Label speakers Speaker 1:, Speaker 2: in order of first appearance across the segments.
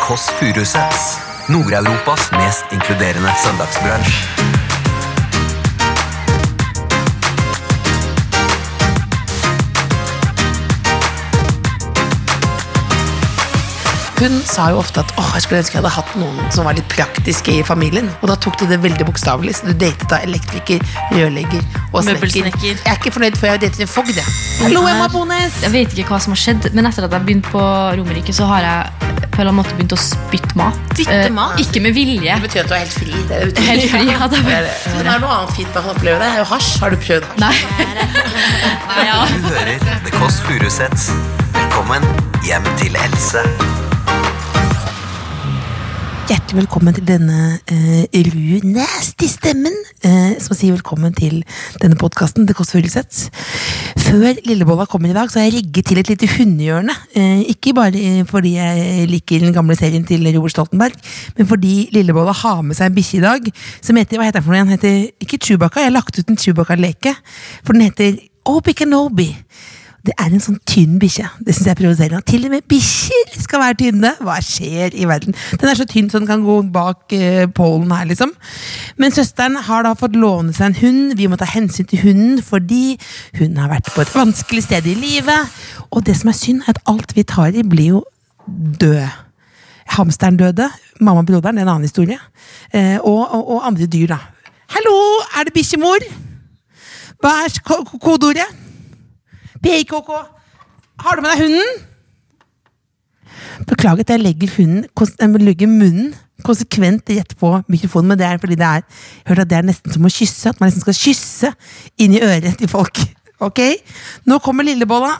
Speaker 1: Kåss Furuseths. Nord-Europas mest inkluderende søndagsbransj.
Speaker 2: Hun sa jo ofte at åh, jeg skulle ønske jeg hadde hatt noen som var litt praktiske i familien. Og da tok de det veldig bokstavelig. Så du datet da elektriker, rørlegger og snekker.
Speaker 3: Møbelsnekker.
Speaker 2: Jeg er ikke fornøyd før jeg har datet en fogd. jeg. Hallo, Emma Bones!
Speaker 3: Jeg vet ikke hva som har skjedd, men etter at jeg begynte på Romerike, så har jeg på en eller annen måte begynt å spytte mat.
Speaker 4: Spytte mat?
Speaker 3: Eh, ikke med vilje.
Speaker 2: Det betyr at du er helt fri. Det er ute.
Speaker 3: Helt fri. Ja, det er
Speaker 2: Det
Speaker 3: bare-
Speaker 2: er det. Så det er noe annet fint man kan oppleve. Det er jo hasj. Har du prøvd hasj?
Speaker 3: Nei. Nei, ja.
Speaker 1: Du hører The Kåss Furuseths. Velkommen hjem til Else.
Speaker 2: Hjertelig velkommen til denne uh, runeste stemmen eh, som sier velkommen til denne podkasten. Det koster Furuseth. Før Lillebolla kommer i dag, så har jeg rigget til et lite hundehjørne. Eh, ikke bare eh, fordi jeg liker den gamle serien til Robert Stoltenberg, men fordi Lillebolla har med seg en bikkje i dag som heter hva heter den for noe? Den heter ikke Chewbacca, jeg har lagt ut en Chewbacca-leke, for den heter Obi Kenobi. Det er en sånn tynn bikkje. Det synes jeg er provoserende. At Til og med bikkjer skal være tynne! Hva skjer i verden? Den er så tynn så den kan gå bak eh, pålen her, liksom. Men søsteren har da fått låne seg en hund. Vi må ta hensyn til hunden fordi hun har vært på et vanskelig sted i livet. Og det som er synd, er at alt vi tar i, blir jo død. Hamsteren døde. Mamma og broderen, det er en annen historie. Eh, og, og, og andre dyr, da. Hallo, er det bikkjemor? Hva er ko- ko- kodeordet? PIKK. Har du med deg hunden? Beklager at jeg legger, hunden, kons- jeg legger munnen konsekvent rett på mikrofonen, men det er fordi det er, jeg hørte at det er nesten som å kysse. At man nesten skal kysse inn i øret til folk. Ok? Nå kommer lillebolla.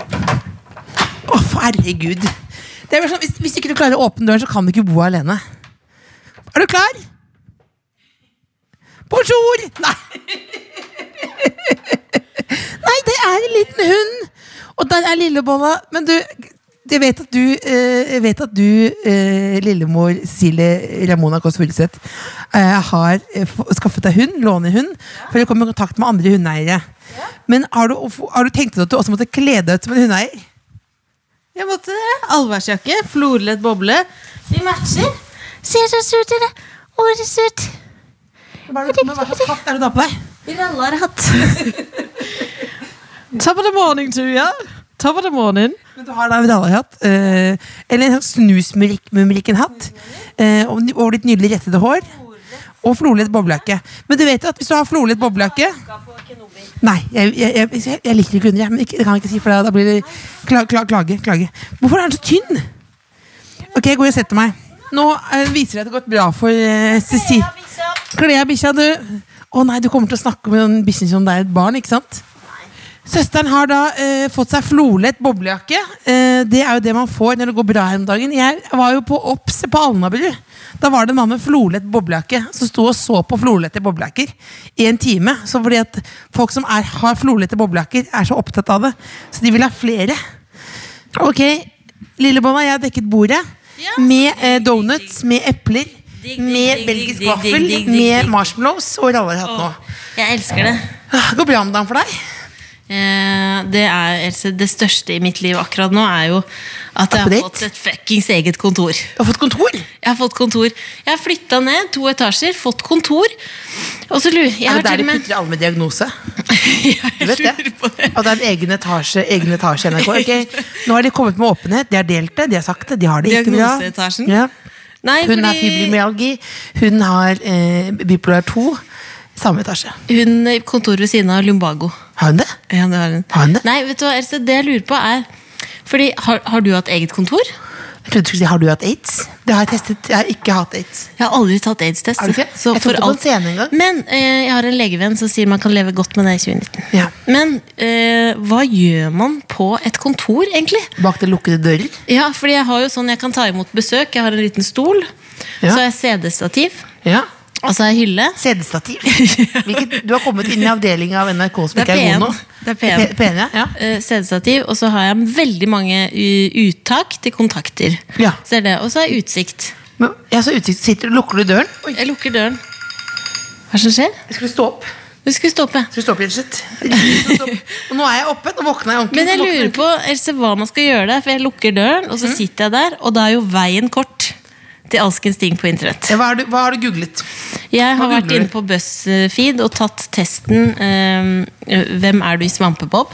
Speaker 2: Å, herregud. Det er vel sånn, hvis, hvis ikke du klarer å åpne døren, så kan du ikke bo alene. Er du klar? Bonjour! Nei. Nei, det er en liten hund. Og der er lillebolla. Men du, jeg vet at du, eh, jeg vet at du eh, lillemor Silje Ramona Kåss Furuseth, eh, har eh, få- skaffet deg hund, låner hund, for å komme i kontakt med andre hundeeiere. Men har du, har du tenkt deg at du også måtte kle deg ut som en hundeeier?
Speaker 4: Jeg måtte det. Allværsjakke, florlett boble. Vi matcher. Ser så surt dere. Årets ut.
Speaker 2: Hva er det, men hva slags hatt er det da på deg?
Speaker 4: Rallarhatt. Top of the morning, Tuja. Top of the morning.
Speaker 2: Men du har da en rallarhatt, eh, eller en sånn snusmumrikken-hatt, eh, og ny- og litt nydelig rettede hår. Og florlett boblejakke. Men du vet jo at hvis du har florlett boblejakke Nei, jeg, jeg, jeg, jeg- jeg liker ikke hunder, jeg, men ikke, det kan jeg ikke si, for da- da blir det kla, kla, klage, klage. Hvorfor er den så tynn? Ok, jeg går og setter meg. Nå eh, viser det at det har gått bra for eh, Cecilie. Kle av bikkja, du. Å nei, du kommer til å snakke med den bikkjen som det er et barn, ikke sant? Søsteren har da eh, fått seg florlett boblejakke. Eh, det er jo det man får når det går bra her om dagen. Jeg var jo på OBS på Alnabru. Da var det en mann med florlett boblejakke som sto og så på florlette boblejakker i en time. Så fordi at folk som er, har florlette boblejakker, er så opptatt av det. Så de vil ha flere. Ok, Lillebolla, jeg har dekket bordet med eh, donuts, med epler,
Speaker 4: digg,
Speaker 2: med
Speaker 4: digg,
Speaker 2: belgisk
Speaker 4: digg, digg,
Speaker 2: vaffel,
Speaker 4: digg, digg,
Speaker 2: med
Speaker 4: digg.
Speaker 2: marshmallows og rallarhatt nå.
Speaker 4: Jeg elsker det.
Speaker 2: Ah, Går bra om dagen for deg?
Speaker 4: Eh, det er Else, det største i mitt liv akkurat nå er jo at jeg har
Speaker 2: Update.
Speaker 4: fått et fuckings eget kontor.
Speaker 2: Du har fått kontor?
Speaker 4: Jeg har fått kontor. Jeg har flytta ned to etasjer, fått kontor. Og så lurer jeg
Speaker 2: Er
Speaker 4: har
Speaker 2: det der de
Speaker 4: til og med-
Speaker 2: putter alle med diagnose? Du
Speaker 4: Jeg
Speaker 2: vet det?
Speaker 4: lurer på det.
Speaker 2: At det er en egen etasje, egen etasje i NRK. Ok, Nå har de kommet med åpenhet, de har delt det, de har sagt det, de har det ikke bra.
Speaker 4: Diagnoseetasjen?
Speaker 2: Ja.
Speaker 4: Nei,
Speaker 2: Hun har
Speaker 4: fordi-
Speaker 2: fibromyalgi, hun har eh, bipolar 2. Samme etasje.
Speaker 4: Hun i kontoret ved siden av Lumbago.
Speaker 2: Har hun det?
Speaker 4: Ja, det har hun.
Speaker 2: Har hun det?
Speaker 4: Nei, vet du hva, Else, det jeg lurer på er fordi, har, har du hatt eget kontor?
Speaker 2: Jeg trodde du skulle si har du hatt aids? Det har jeg testet. Jeg har ikke hatt aids.
Speaker 4: Jeg har aldri tatt aids-test.
Speaker 2: Har du ikke?
Speaker 4: så
Speaker 2: Jeg tok
Speaker 4: for
Speaker 2: det på en
Speaker 4: alt-
Speaker 2: scene en gang.
Speaker 4: Men eh, jeg har en legevenn som sier man kan leve godt med det i 2019.
Speaker 2: Ja.
Speaker 4: Men eh, hva gjør man på et kontor, egentlig?
Speaker 2: Bak den lukkede dører.
Speaker 4: Ja, fordi jeg har jo sånn jeg kan ta imot besøk. Jeg har en liten stol.
Speaker 2: Ja.
Speaker 4: Så har jeg CD-stativ.
Speaker 2: Ja.
Speaker 4: Og så har jeg hylle.
Speaker 2: CD-stativ. Hvilket- Du har kommet inn i avdelinga av NRK som
Speaker 4: Det
Speaker 2: ikke
Speaker 4: er
Speaker 2: er god
Speaker 4: P1.
Speaker 2: nå.
Speaker 4: Det er P1.
Speaker 2: P- P1, ja. ja.
Speaker 4: eh, CD-stativ, og så har jeg veldig mange u- uttak til kontakter.
Speaker 2: Ja.
Speaker 4: Ser det, Og så har jeg utsikt.
Speaker 2: Men jeg så utsikt, sitter, lukker du døren?
Speaker 4: Jeg lukker døren. Hva som skjer?
Speaker 2: Jeg skulle stå opp.
Speaker 4: Du Vi skulle stå oppe.
Speaker 2: Skal vi stå opp, Elseth? Og nå er jeg oppe. Nå våkna jeg ordentlig.
Speaker 4: Men jeg
Speaker 2: Nå våkner
Speaker 4: lurer på Else, hva man skal gjøre der, for jeg lukker døren,
Speaker 2: Mm.
Speaker 4: og så sitter jeg der, og da er jo veien kort til alskens ting på internett.
Speaker 2: Ja, Hva har du, hva har du googlet?
Speaker 4: Jeg har
Speaker 2: Hva
Speaker 4: vært
Speaker 2: googler
Speaker 4: inne
Speaker 2: du?
Speaker 4: på BuzzFeed og tatt testen eh, Hvem er du i Svampebob?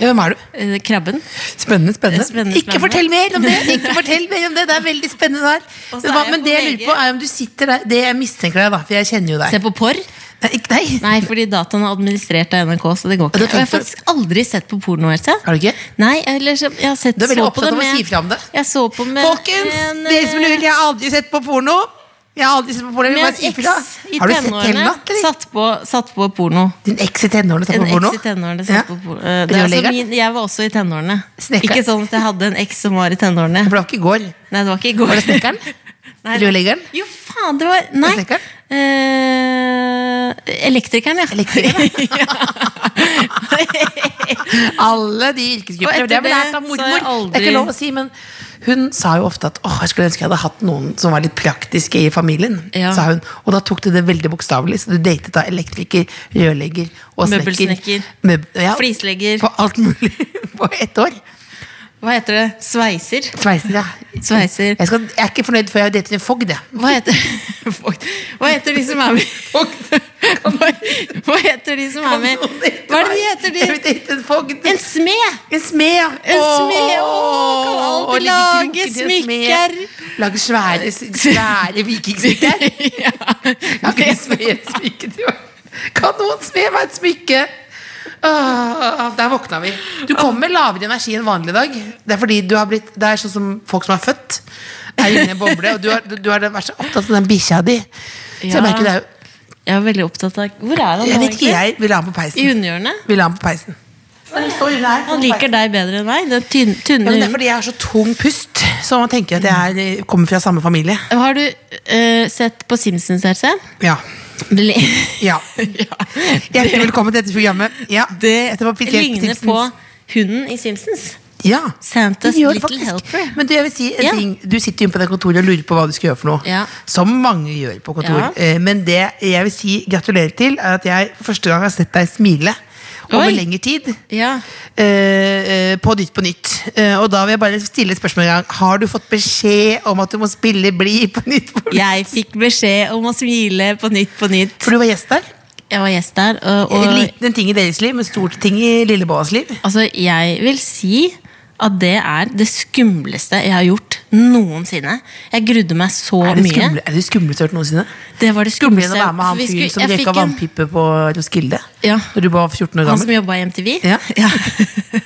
Speaker 2: Ja, hvem er du?
Speaker 4: Eh, krabben.
Speaker 2: Spennende, spennende.
Speaker 4: Spennende,
Speaker 2: Ikke
Speaker 4: spennende.
Speaker 2: fortell mer om det! Ikke fortell mer om Det Det er veldig spennende der.
Speaker 4: Og
Speaker 2: Men,
Speaker 4: så
Speaker 2: hva,
Speaker 4: er jeg
Speaker 2: men
Speaker 4: på
Speaker 2: det jeg lurer
Speaker 4: VG.
Speaker 2: på, er om du sitter der Det jeg mistenker deg, da, for jeg kjenner jo deg.
Speaker 4: Se på porr.
Speaker 2: Nei, ikke deg.
Speaker 4: Nei, fordi dataen er administrert av NRK, så det går ikke.
Speaker 2: det
Speaker 4: Og jeg har
Speaker 2: tenkte-
Speaker 4: faktisk aldri sett på porno, Else.
Speaker 2: Har du ikke?
Speaker 4: Nei, eller så- jeg har sett
Speaker 2: Du er veldig
Speaker 4: så på
Speaker 2: opptatt av å
Speaker 4: med-
Speaker 2: si fra om det.
Speaker 4: Jeg så på med
Speaker 2: Folkens!
Speaker 4: en,
Speaker 2: dere som lurer,
Speaker 4: eh,
Speaker 2: jeg har aldri sett på porno. Jeg har aldri sett på porno. Jeg vil
Speaker 4: med
Speaker 2: bare si
Speaker 4: en
Speaker 2: ifra.
Speaker 4: eks i
Speaker 2: Har du sett
Speaker 4: tenårene
Speaker 2: Hellnatt, eller?
Speaker 4: satt på, satt på porno.
Speaker 2: Din eks i tenårene satt
Speaker 4: En
Speaker 2: på porno?
Speaker 4: eks i tenårene satt på porno. Eh, Det er altså
Speaker 2: Rørleggeren?
Speaker 4: min, jeg var også i tenårene.
Speaker 2: Snekker.
Speaker 4: Ikke sånn at jeg hadde en eks som var i tenårene.
Speaker 2: Det ble ikke i går.
Speaker 4: Nei, det var ikke i går.
Speaker 2: Var det snekkeren?
Speaker 4: Nei,
Speaker 2: Rørleggeren?
Speaker 4: Jo, faen, det var Nei.
Speaker 2: Snekkeren?
Speaker 4: Eh, elektrikeren, ja.
Speaker 2: Elektrikeren,
Speaker 4: ja.
Speaker 2: Alle de
Speaker 4: Og
Speaker 2: yrkesgruppene.
Speaker 4: etter
Speaker 2: Det har vi
Speaker 4: det
Speaker 2: lært av
Speaker 4: så
Speaker 2: mormor.
Speaker 4: har
Speaker 2: Det
Speaker 4: jeg
Speaker 2: er
Speaker 4: aldri-
Speaker 2: ikke lov å si, men hun sa jo ofte at åh, jeg skulle ønske jeg hadde hatt noen som var litt praktiske i familien.
Speaker 4: Ja.
Speaker 2: sa hun. Og da tok du det veldig bokstavelig, så du datet da elektriker, rørlegger og snekker.
Speaker 4: Møbelsnekker.
Speaker 2: Møb ja,
Speaker 4: Flislegger.
Speaker 2: På alt mulig på ett år.
Speaker 4: Hva heter det? Sveiser?
Speaker 2: Sveiser, ja.
Speaker 4: Sveiser.
Speaker 2: Jeg, skal, jeg er ikke fornøyd før jeg har datet en fogd, jeg.
Speaker 4: Hva heter Fuck. Hva heter de som er med Hva, hva heter de som er med
Speaker 2: Noen dater
Speaker 4: Hva er det
Speaker 2: meg.
Speaker 4: de heter,
Speaker 2: Jeg vil
Speaker 4: de?
Speaker 2: date en fogd.
Speaker 4: En smed!
Speaker 2: En smed, ja.
Speaker 4: En smed,
Speaker 2: Åh,
Speaker 4: åh, kan alltid
Speaker 2: og ligge i
Speaker 4: lage
Speaker 2: kroken til en smed.
Speaker 4: smykker.
Speaker 2: Lage svære, svære vikingsmykker. Jeg kan smed et smykke til meg. Kan noen smed meg et smykke? Åh, der våkna vi. Du kommer med lavere energi enn vanlig i dag. Det er fordi du har blitt Det er sånn som folk som er født, er inne i en boble. Og du har, du har vært så opptatt av den bikkja di. Så jeg
Speaker 4: Ja.
Speaker 2: merker det er jo
Speaker 4: Jeg er veldig opptatt av Hvor er han nå,
Speaker 2: Jeg vet ikke,
Speaker 4: egentlig?
Speaker 2: jeg vil ha den på
Speaker 4: I
Speaker 2: peisen.
Speaker 4: hundehjørnet?
Speaker 2: Vil ha den på peisen.
Speaker 4: Han liker deg bedre enn meg. Den tynne,
Speaker 2: Ja,
Speaker 4: tynne
Speaker 2: men det er
Speaker 4: hunden.
Speaker 2: fordi jeg har så tung pust, så man tenker at jeg er, kommer fra samme familie.
Speaker 4: Har du eh, sett på Simpsons, Else?
Speaker 2: Ja.
Speaker 4: Det,
Speaker 2: ja. Hjertelig velkommen til dette programmet. Ja. Dette var Pitjett
Speaker 4: ligner
Speaker 2: Simpsons.
Speaker 4: på hunden i Simpsons.
Speaker 2: ja.
Speaker 4: Santas
Speaker 2: Det gjør det
Speaker 4: Little
Speaker 2: faktisk.
Speaker 4: Helper.
Speaker 2: Men du, jeg vil si en
Speaker 4: Ja.
Speaker 2: ting. Du sitter jo inne på det kontoret og lurer på hva du skal gjøre for noe.
Speaker 4: Ja.
Speaker 2: Som mange gjør på kontor.
Speaker 4: Ja.
Speaker 2: Eh, Men det jeg vil si gratulerer til, er at jeg for første gang har sett deg smile over
Speaker 4: Oi.
Speaker 2: lengre tid.
Speaker 4: Ja.
Speaker 2: eh, eh, på Nytt på Nytt. Eh, og da vil jeg bare stille et spørsmål en gang. Har du fått beskjed om at du må spille Bli på Nytt på Nytt?
Speaker 4: Jeg fikk beskjed om å smile på nytt på nytt.
Speaker 2: For du var gjest der.
Speaker 4: Jeg var gjest der, og,
Speaker 2: En
Speaker 4: og
Speaker 2: liten ting i deres liv, men stort ting i Lilleboas liv.
Speaker 4: altså, jeg vil si at det er det skumleste jeg har gjort noensinne. Jeg grudde meg så
Speaker 2: Er det,
Speaker 4: mye.
Speaker 2: skumle, er det skumlest du har hørt noensinne?
Speaker 4: Det var det
Speaker 2: Skumlere enn
Speaker 4: skumleste.
Speaker 2: å være med han
Speaker 4: Vi
Speaker 2: fyren
Speaker 4: skulle-
Speaker 2: som
Speaker 4: jeg fikk
Speaker 2: røyka
Speaker 4: en-
Speaker 2: vannpipe på Roskilde?
Speaker 4: Ja.
Speaker 2: Når du var 14 år
Speaker 4: Han som
Speaker 2: gammel?
Speaker 4: jobba i MTV.
Speaker 2: Ja.
Speaker 4: Ja.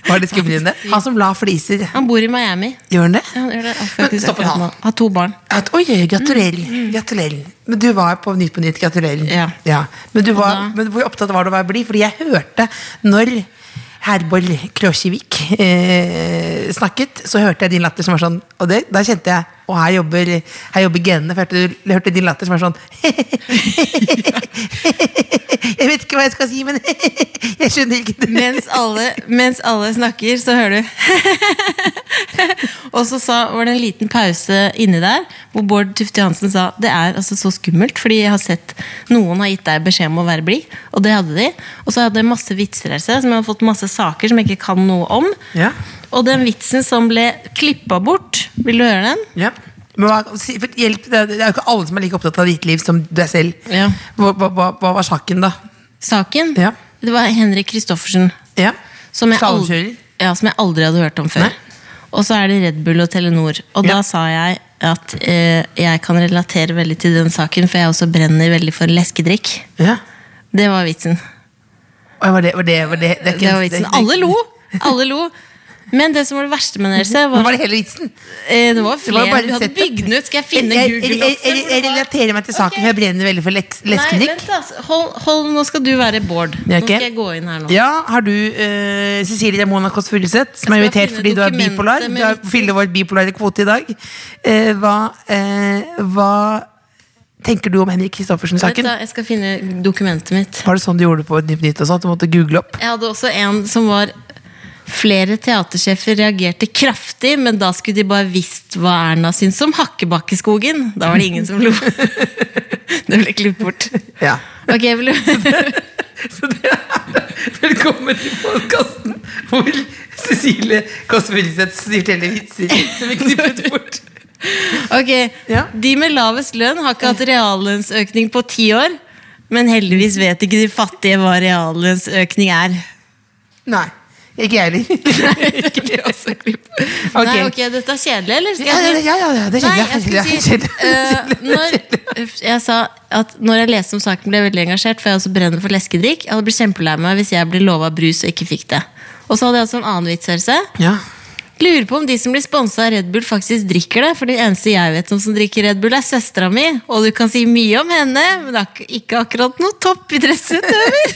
Speaker 2: Var det skumlere enn det? Han som la fliser.
Speaker 4: Han bor i Miami.
Speaker 2: Gjør han det?
Speaker 4: Ja, Han gjør det akkurat
Speaker 2: Men
Speaker 4: i det
Speaker 2: stopp en
Speaker 4: akkurat
Speaker 2: hal.
Speaker 4: nå. Har to barn.
Speaker 2: At, oi, oi, gratulerer. gratulerer. Men du var på Nytt på Nytt. Gratulerer.
Speaker 4: Mm. Ja.
Speaker 2: Men, du var,
Speaker 4: da-
Speaker 2: men hvor opptatt var du av å være blid? Fordi jeg hørte når Herborg Kråkjevik eh, snakket, så hørte jeg din latter som var sånn Og det, da kjente jeg Og her jobber, her jobber genene. For jeg hørte, jeg hørte din latter som var sånn Jeg vet ikke hva jeg skal si, men jeg skjønner ikke det.
Speaker 4: Mens alle, mens alle snakker, så hører du Og så sa, var det en liten pause inni der, hvor Bård Tufte Johansen sa det er altså så skummelt, fordi jeg har sett noen har gitt deg beskjed om å være blid, og det hadde de. Og så hadde jeg masse vitser her, som jeg har fått masse saker som jeg ikke kan noe om.
Speaker 2: Ja.
Speaker 4: Og den vitsen som ble klippa bort, vil du høre den?
Speaker 2: Ja. Men hva, si- for hjelp, det er det er jo ikke alle som er like opptatt av ditt liv som deg selv.
Speaker 4: Ja.
Speaker 2: Hva, hva, hva, hva var saken, da?
Speaker 4: Saken?
Speaker 2: Ja.
Speaker 4: Det var Henrik Kristoffersen.
Speaker 2: Ja.
Speaker 4: Som jeg, aldri,
Speaker 2: Slalåmkjører?
Speaker 4: ja, som jeg aldri hadde hørt om før.
Speaker 2: Nei.
Speaker 4: Og så er det Red Bull og Telenor. Og
Speaker 2: Ja.
Speaker 4: da sa jeg at eh, jeg kan relatere veldig til den saken, for jeg også brenner veldig for leskedrikk.
Speaker 2: Ja.
Speaker 4: Det var vitsen.
Speaker 2: Oi, var det, var det, var det, det, er ikke-
Speaker 4: Det var vitsen.
Speaker 2: det- det-
Speaker 4: Alle lo! Alle lo. Men det som var det verste med dere,
Speaker 2: Men
Speaker 4: var,
Speaker 2: Var det hele vitsen?
Speaker 4: eh, det var
Speaker 2: Det var
Speaker 4: flere.
Speaker 2: bare
Speaker 4: Du hadde
Speaker 2: settet.
Speaker 4: bygd den ut. Skal jeg finne
Speaker 2: jeg, jeg, jeg, jeg, jeg
Speaker 4: Google-oppsettet?
Speaker 2: relaterer meg til saken,
Speaker 4: Ok.
Speaker 2: for jeg brenner veldig for leks-
Speaker 4: Nei,
Speaker 2: leskedrikk.
Speaker 4: vent, altså. Hold, hold, nå skal du være Bård.
Speaker 2: Ja,
Speaker 4: Nå
Speaker 2: ok.
Speaker 4: skal jeg gå inn her nå.
Speaker 2: Ja, har du eh, Cecilie Ramona Kåss Furuseth, som er
Speaker 4: Jeg skal
Speaker 2: invitert
Speaker 4: finne
Speaker 2: fordi du er
Speaker 4: dokumentet
Speaker 2: bipolar?
Speaker 4: med
Speaker 2: Du har
Speaker 4: vitsen.
Speaker 2: fyller vår bipolare kvote i dag. Eh, hva, eh, hva tenker du om Henrik
Speaker 4: Vent
Speaker 2: Kristoffersen-saken?
Speaker 4: da, jeg skal finne dokumentet mitt.
Speaker 2: Var det sånn du gjorde på Nytt på Nytt også? At du måtte google opp?
Speaker 4: Jeg hadde også en som var Flere teatersjefer reagerte kraftig, men da skulle de bare visst hva Erna syntes om Hakkebakkeskogen. Da var det ingen som lo. Det ble klippet bort.
Speaker 2: Ja.
Speaker 4: Ok, vil du
Speaker 2: Så det er velkommen til podkasten hvor Cecilie Kåss Furuseth forteller vitser som vi knippet bort.
Speaker 4: Ok,
Speaker 2: Ja.
Speaker 4: De med lavest lønn har ikke hatt reallønnsøkning på ti år. Men heldigvis vet ikke de fattige hva reallønnsøkning er.
Speaker 2: Nei. Ikke jeg heller.
Speaker 4: Nei,
Speaker 2: Ok.
Speaker 4: ok, Dette er kjedelig, eller?
Speaker 2: Ja, ja, ja, ja, ja, det
Speaker 4: Nei,
Speaker 2: skjedde.
Speaker 4: jeg skulle si eh, når, uff, Jeg sa at når jeg leste om saken, ble jeg veldig engasjert, for jeg også brenner for leskedrikk. Jeg hadde blitt kjempelei meg hvis jeg ble lova brus og ikke fikk det. Og så hadde jeg også en annen vits. Else.
Speaker 2: Ja.
Speaker 4: Lurer på om de som blir sponsa av Red Bull, faktisk drikker det. For det eneste jeg vet om som drikker Red Bull, er søstera mi. Og du kan si mye om henne, men det er ak- ikke akkurat noe toppidrettsutøver.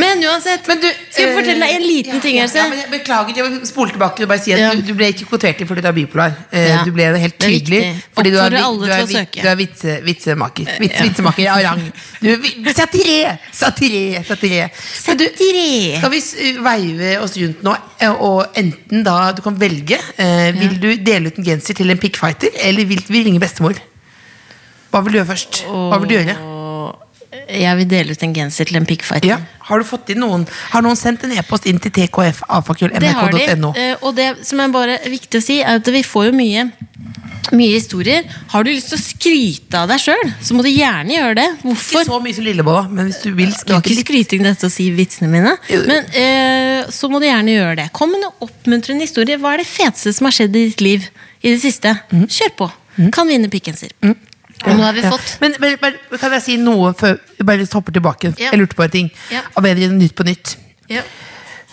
Speaker 4: men uansett,
Speaker 2: Men du,
Speaker 4: skal jeg fortelle deg en
Speaker 2: Eh,
Speaker 4: liten
Speaker 2: ja,
Speaker 4: ting?
Speaker 2: ja,
Speaker 4: Else?
Speaker 2: ja, men jeg Beklager, jeg vil spole tilbake og bare si at
Speaker 4: Ja.
Speaker 2: du, du ble ikke kvotert inn fordi du er bipolar. Eh,
Speaker 4: Ja.
Speaker 2: Du ble det helt
Speaker 4: Det er
Speaker 2: tydelig.
Speaker 4: viktig.
Speaker 2: Fordi du er,
Speaker 4: Oppfordrer
Speaker 2: vi-
Speaker 4: alle
Speaker 2: du er,
Speaker 4: til å
Speaker 2: vi-
Speaker 4: søke. Eh,
Speaker 2: du er vitse, vitsemaker. Vits, Vitsemaker av rang. Du, er vi- satire! Satire! Satire. Men du,
Speaker 4: Satire.
Speaker 2: skal vi s- eh, veive oss rundt nå, eh, og enten da du kan velge eh, Vil du dele ut en genser til en pickfighter, eller vil vi ringe bestemor? Hva vil du gjøre først? Hva vil du gjøre?
Speaker 4: Jeg vil dele ut en genser til en piggfighter.
Speaker 2: Ja. Har du fått inn noen Har noen sendt en e-post inn til
Speaker 4: Det har de.
Speaker 2: tkf.nrk.no?
Speaker 4: Eh, Og det som er bare viktig å si, er at vi får jo mye, mye historier. Har du lyst til å skryte av deg sjøl, så må du gjerne gjøre det.
Speaker 2: Ikke
Speaker 4: Hvorfor?
Speaker 2: så mye som Lillebolla, men hvis du vil
Speaker 4: Det var
Speaker 2: skrive
Speaker 4: ikke
Speaker 2: litt
Speaker 4: skryting dette å si vitsene mine.
Speaker 2: Jo.
Speaker 4: Men eh, så må du gjerne gjøre det. Kom med noen oppmuntrende historier. Hva er det feteste som har skjedd i ditt liv i det siste? Kjør på. Kan vinne pikkenser. Og nå har vi
Speaker 2: Mm. Ja.
Speaker 4: fått
Speaker 2: Men, men, men kan jeg si noe før vi bare hopper tilbake?
Speaker 4: Ja.
Speaker 2: Jeg lurte på en ting.
Speaker 4: Ja.
Speaker 2: Av bedre enn Nytt på nytt.
Speaker 4: ja.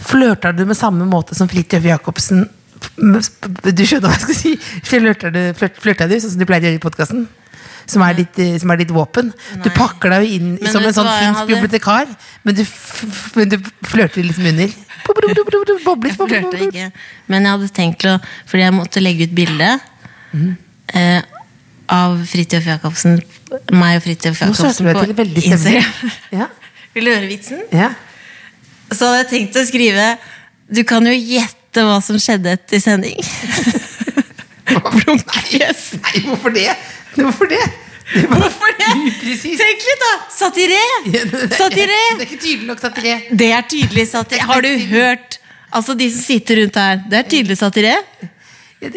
Speaker 2: Flørta du med samme måte som Fridtjof Jacobsen? Du skjønner hva jeg skal si? Flørta du, flørt, flørta du sånn som du pleier å gjøre i podkasten? Som er, ditt, eh, som er ditt våpen. Du pakker deg jo inn
Speaker 4: Men
Speaker 2: som en
Speaker 4: vet du
Speaker 2: sånn
Speaker 4: hva jeg
Speaker 2: finsk
Speaker 4: hadde?
Speaker 2: bibliotekar, men du, f f- men du flørter liksom under. Bobler, bobler, bobler, bobler, bobler,
Speaker 4: Klarte
Speaker 2: bobler.
Speaker 4: ikke. Men jeg hadde tenkt til å Fordi jeg måtte legge ut bilde eh, av Fridtjof Jacobsen. Meg og Fridtjof
Speaker 2: Nå søker
Speaker 4: Jacobsen
Speaker 2: du
Speaker 4: på
Speaker 2: deg til veldig
Speaker 4: Instagram.
Speaker 2: stemning. Ja,
Speaker 4: Vil du høre vitsen?
Speaker 2: ja.
Speaker 4: Så hadde jeg tenkt å skrive Du kan jo gjette hva som skjedde etter sending. Blunkefjes.
Speaker 2: Nei, hvorfor det? Hvorfor det? det var
Speaker 4: Hvorfor det?
Speaker 2: upresist.
Speaker 4: Tenk litt, da! Satire!
Speaker 2: Ja, det- det-
Speaker 4: Satire!
Speaker 2: Det er ikke tydelig nok satire.
Speaker 4: Det er tydelig satire. Har du hørt Altså de som sitter rundt her, det er tydelig satire.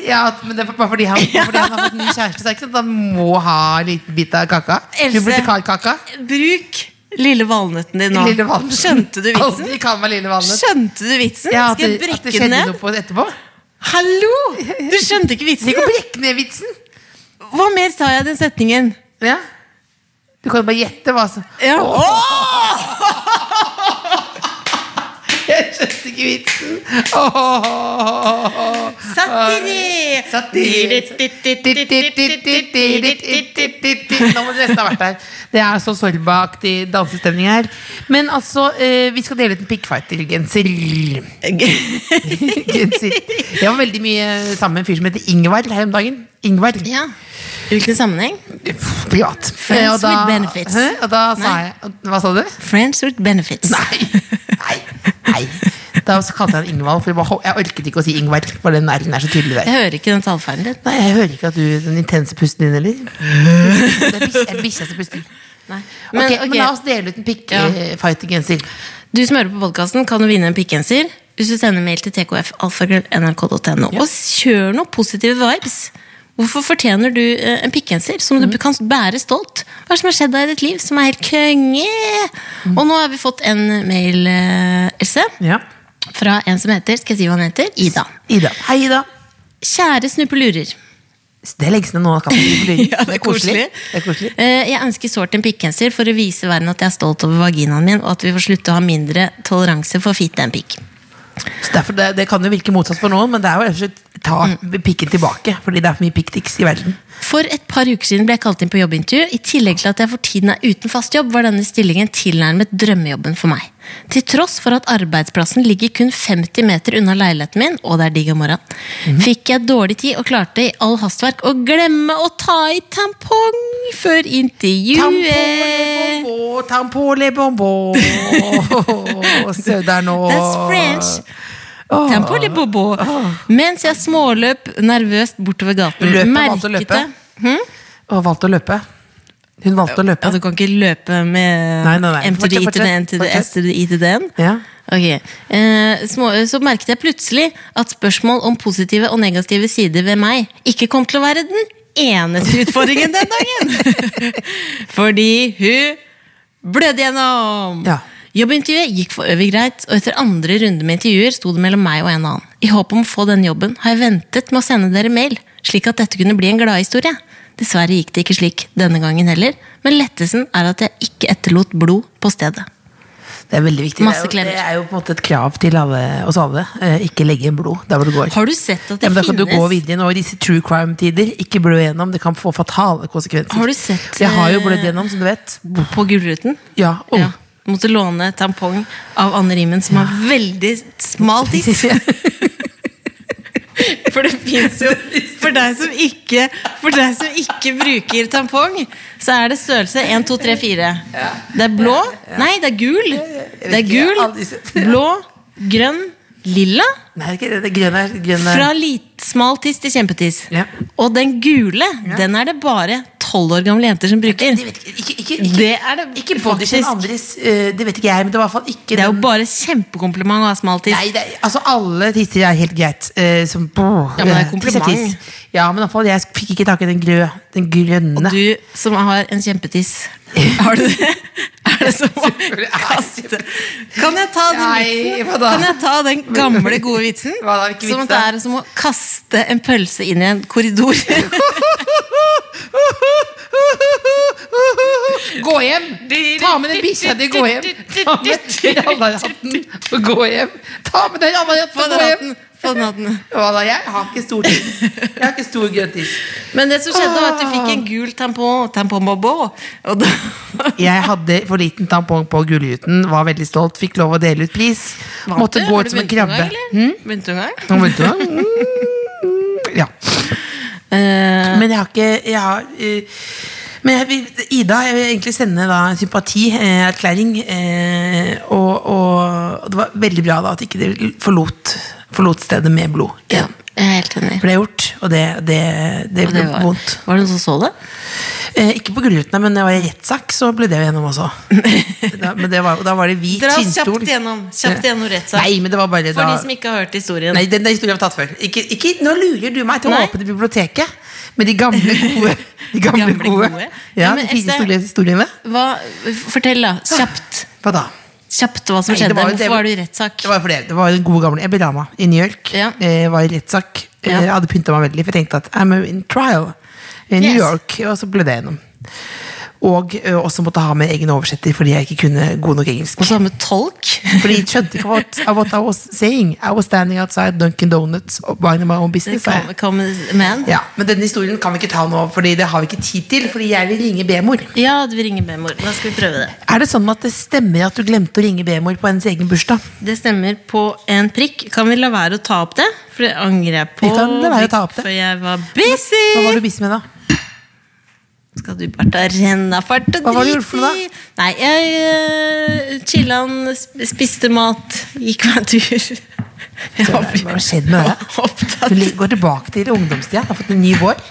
Speaker 2: Ja, at- men det er bare fordi han, bare fordi han har fått ny kjæreste, så er det ikke sant at han må ha en liten bit av kaka.
Speaker 4: Else.
Speaker 2: Bibliotekarkaka.
Speaker 4: Bruk lille valnøtten din nå.
Speaker 2: Lille valnøtt.
Speaker 4: Skjønte du vitsen?
Speaker 2: Aldri kall meg lille valnøtt.
Speaker 4: Skjønte du vitsen?
Speaker 2: Ja, at,
Speaker 4: Skal jeg
Speaker 2: det, at det
Speaker 4: brekke den
Speaker 2: skjedde
Speaker 4: ned?
Speaker 2: noe på det etterpå.
Speaker 4: Hallo! Du skjønte ikke
Speaker 2: Vi kan
Speaker 4: vitsen?
Speaker 2: brekke ned vitsen.
Speaker 4: Hva mer sa jeg i den setningen?
Speaker 2: Ja. Du kan jo bare gjette hva som
Speaker 4: Ja.
Speaker 2: Jeg skjønte ikke vitsen! Åh.
Speaker 4: Satire!
Speaker 2: Satire. Nå må du nesten ha vært der. Det er så Sorba-aktig dansestemning her. Men altså, eh, vi skal dele ut en pickfighter-genser. Genser. Jeg var veldig mye sammen med en fyr som heter Ingvard her om dagen. Ingvard.
Speaker 4: Ja. Hvilken sammenheng?
Speaker 2: Privat.
Speaker 4: Friends
Speaker 2: Eh, og da-
Speaker 4: with benefits.
Speaker 2: Hæ? Og da sa
Speaker 4: Nei.
Speaker 2: jeg Hva sa du?
Speaker 4: Friends with benefits.
Speaker 2: Nei, nei, nei. Da kalte jeg han Ingvald, for jeg, bare, jeg orket ikke å si Ingvard. For den r-en er så tydelig der.
Speaker 4: Jeg hører ikke den tallfeilen din.
Speaker 2: Nei, jeg hører ikke at du den intense pusten din heller. Det er bis- det er bikkja som puster.
Speaker 4: Men,
Speaker 2: Ok,
Speaker 4: ok,
Speaker 2: men la oss dele ut en
Speaker 4: Ja.
Speaker 2: pikkfighter-genser.
Speaker 4: Du som hører på podkasten, kan jo vinne en pikkgenser hvis du sender mail til tkfalfagrøll.nrk.no. Og kjør noen positive vibes. Hvorfor fortjener du eh, en pikkgenser som du kan bære stolt? Hva er det som har skjedd deg i ditt liv som er helt konge? Og nå har vi fått en mail, eh, Else,
Speaker 2: Ja.
Speaker 4: fra en som heter Skal jeg si hva han heter? Ida.
Speaker 2: Ida. Hei, Ida.
Speaker 4: Kjære snuppelurer.
Speaker 2: Det er lenge siden noen har kalt meg blid.
Speaker 4: Ja, det er koselig.
Speaker 2: Det er koselig.
Speaker 4: Eh, Jeg ønsker sårt en pikkgenser for å vise verden at jeg er stolt over vaginaen min, og at vi får slutte å ha mindre toleranse for fitte enn pikk.
Speaker 2: Så derfor, det, det kan jo virke motsatt for noen, men det er jo rett og slett ta pikken tilbake. Fordi det er for mye pikktics i verden.
Speaker 4: For et par uker siden ble jeg kalt inn på jobbintervju. I tillegg til at jeg for tiden er uten fast jobb, var denne stillingen tilnærmet drømmejobben for meg. Til tross for at arbeidsplassen ligger kun 50 meter unna leiligheten min, og det er digg om morgenen, fikk jeg dårlig tid og klarte i all hastverk å glemme å ta i tampong før intervjuet.
Speaker 2: Tampole-bombo, tampole-bombo. Se der nå.
Speaker 4: That's French. Tampoli bobo. Mens jeg småløp nervøst bortover gaten,
Speaker 2: Løp og valgte å
Speaker 4: merket
Speaker 2: løpe?
Speaker 4: jeg
Speaker 2: Og valgte å løpe. Hun valgte å løpe.
Speaker 4: Ja, du kan ikke løpe med
Speaker 2: Nei, nei, nei.
Speaker 4: M to the
Speaker 2: Fortsett,
Speaker 4: I to the N to the
Speaker 2: fortsett,
Speaker 4: S to the I to the N.
Speaker 2: Ja.
Speaker 4: Ok. Eh, små, så merket jeg plutselig at spørsmål om positive og negative sider ved meg ikke kom til å være den eneste utfordringen den dagen. Fordi hun blødde gjennom!
Speaker 2: Ja.
Speaker 4: Jobbintervjuet gikk for øvrig greit, og etter andre runde med intervjuer sto det mellom meg og en annen. I håp om å få denne jobben har jeg ventet med å sende dere mail, slik at dette kunne bli en gladhistorie. Dessverre gikk det ikke slik denne gangen heller, men lettelsen er at jeg ikke etterlot blod på stedet.
Speaker 2: Det er veldig viktig.
Speaker 4: Masse
Speaker 2: det, er
Speaker 4: klemmer.
Speaker 2: jo, det er jo på en måte et krav til alle, oss alle. Eh, ikke legge blod der hvor du går.
Speaker 4: Har du sett at det
Speaker 2: ja, men da kan du gå
Speaker 4: finnes-
Speaker 2: videre nå i disse true crime-tider. Ikke blø gjennom, det kan få fatale konsekvenser.
Speaker 4: Har du sett,
Speaker 2: Jeg har jo
Speaker 4: eh,
Speaker 2: blødd gjennom, som du vet.
Speaker 4: På Gulruten?
Speaker 2: Ja, oh.
Speaker 4: Ja. Måtte låne tampong av Anne Rimmen, som har veldig smal tiss. For det fins jo for deg, som ikke, for deg som ikke bruker tampong, så er det størrelse 1, 2, 3, 4. Det er blå Nei, det er gul. Det er
Speaker 2: ikke, jeg har aldri
Speaker 4: gul,
Speaker 2: sett-
Speaker 4: blå, grønn, lilla.
Speaker 2: Nei, ikke det, det grønne er grønne
Speaker 4: Fra lit, smal tiss til kjempetiss.
Speaker 2: Ja.
Speaker 4: Og den gule, den er det bare 12 år gamle jenter som bruker.
Speaker 2: De vet ikke, ikke, ikke, ikke,
Speaker 4: Det er det
Speaker 2: ikke body shame
Speaker 4: faktisk.
Speaker 2: andres eh, Det vet ikke jeg, men det var i hvert fall ikke
Speaker 4: Det er jo
Speaker 2: den-
Speaker 4: bare kjempekompliment å ha smal tiss.
Speaker 2: Nei, det er, altså alle tisser er helt greit. eh, som, ja,
Speaker 4: men det er kompliment.
Speaker 2: Ja, men i hvert fall, jeg fikk ikke tak i den, grø, den grønne.
Speaker 4: Du som har en kjempetiss, har du det? Er det så
Speaker 2: Selvfølgelig er jeg
Speaker 4: kaste? Kan jeg ta den
Speaker 2: Nei,
Speaker 4: vitsen?
Speaker 2: hva da?
Speaker 4: Kan jeg ta den gamle, gode vitsen?
Speaker 2: Hva da, hvilken
Speaker 4: Som
Speaker 2: vits
Speaker 4: at det
Speaker 2: da?
Speaker 4: er som å kaste en pølse inn i en korridor.
Speaker 2: Gå hjem! Ta med den bikkja di, gå hjem! Ta med den rallarhatten og gå hjem! Ta med den rallarhatten
Speaker 4: Få
Speaker 2: og gå hjem!
Speaker 4: den hatten, få den hatten.
Speaker 2: Hva da, jeg har ikke stor tiss. Jeg har ikke stor grønn tiss.
Speaker 4: Men det som skjedde, var at du fikk en gul tampong, tampong bobo, og da
Speaker 2: Jeg hadde for liten tampong på Gullruten, var veldig stolt, fikk lov å dele ut pris. Måtte gå
Speaker 4: Har du
Speaker 2: ut som en
Speaker 4: begynt noen
Speaker 2: krabbe.
Speaker 4: gang, eller? Begynte du en gang?
Speaker 2: Nå begynte du, da. Mm, Ja.
Speaker 4: Eh,
Speaker 2: Men jeg har ikke jeg har, eh, Men jeg vil, Ida, jeg vil egentlig sende da en sympatierklæring. Eh, og, og det var veldig bra da at ikke de forlot, forlot stedet med blod.
Speaker 4: ja,
Speaker 2: igjen.
Speaker 4: jeg er helt enig.
Speaker 2: For det er gjort, og det, det, det
Speaker 4: Og
Speaker 2: ble
Speaker 4: det var,
Speaker 2: vondt.
Speaker 4: var det noen som så det?
Speaker 2: Eh, ikke på Gullruten, men da jeg var i rettssak, så ble det jo gjennom også. da, men det var, da var det hvit
Speaker 4: Dra
Speaker 2: skinnstol.
Speaker 4: kjapt gjennom, kjapt gjennom rettssak.
Speaker 2: Nei, men det var bare
Speaker 4: For
Speaker 2: da
Speaker 4: de som ikke har hørt historien.
Speaker 2: Nei, den, den historien har vi tatt før. Ikke, ikke, nå lurer du meg til å
Speaker 4: Nei.
Speaker 2: åpne biblioteket med de gamle, gode. De gamle,
Speaker 4: Gamle
Speaker 2: gode.
Speaker 4: gode?
Speaker 2: Ja,
Speaker 4: Ja, men
Speaker 2: de fire
Speaker 4: Ester-
Speaker 2: store historiene.
Speaker 4: Hva, fortell, da. Kjapt.
Speaker 2: Hva da?
Speaker 4: Kjapt hva som
Speaker 2: Nei, det
Speaker 4: skjedde.
Speaker 2: var jo det-
Speaker 4: Hvorfor var du i rettssak?
Speaker 2: Det var, for det. Det var den gode gamle Jeg ble dama i New York.
Speaker 4: Ja.
Speaker 2: Eh, var i rettssak. Eh,
Speaker 4: Ja.
Speaker 2: Jeg hadde pynta meg veldig, for jeg tenkte at I'm in trial i New
Speaker 4: Yes.
Speaker 2: York. Og så ble det gjennom. Og eh, også måtte ha med egen oversetter fordi jeg ikke kunne god nok engelsk.
Speaker 4: Og så med tolk.
Speaker 2: Fordi de skjønte ikke what, what I was saying. I was standing outside Dunkin' Donuts buying my own business. sa jeg.
Speaker 4: Come, come man.
Speaker 2: Ja,
Speaker 4: Ja.
Speaker 2: Men denne historien kan vi ikke ta nå, Fordi det har vi ikke tid til. Fordi jeg vil ringe B-mor.
Speaker 4: du ringer B-mor. Da skal vi prøve det.
Speaker 2: Er det sånn at det stemmer at du glemte å ringe B-mor på hennes egen bursdag?
Speaker 4: Det stemmer på en prikk. Kan vi la være å ta opp det? For det angrer jeg på.
Speaker 2: Vi kan la være å ta opp det.
Speaker 4: For jeg var
Speaker 2: Hva
Speaker 4: busy!
Speaker 2: var du busy med da?
Speaker 4: Skal du bare ta renne fart og
Speaker 2: Hva var det du
Speaker 4: drit
Speaker 2: gjorde for noe da?
Speaker 4: i? Nei, jeg uh, chilla'n, sp- spiste mat, gikk meg en tur. Jeg var
Speaker 2: Hva har skjedd med deg?
Speaker 4: opptatt.
Speaker 2: Du li- går tilbake til ungdomstida. Du har fått en ny vår.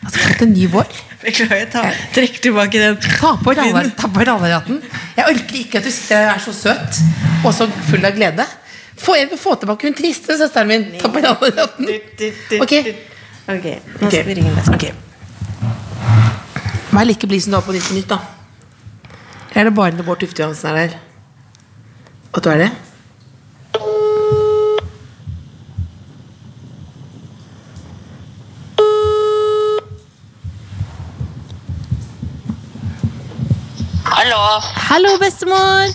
Speaker 2: Altså, fått en ny vår.
Speaker 4: Beklager, jeg tar- trekk tilbake den.
Speaker 2: Ta på rallar- ta på rallarhatten. Jeg orker ikke at du sitter her og er så søt og så full av glede. Få, jeg vil få tilbake hun triste søsteren min. Ta på rallarhatten. Ok.
Speaker 4: Ok, nå skal vi ringe deg.
Speaker 2: Ok. Vær like blid som du var på Nytt på Nytt, da. Eller er det bare når Bård Tufte Johansen er der? At du er det?
Speaker 5: Hallo.
Speaker 4: Hallo, bestemor!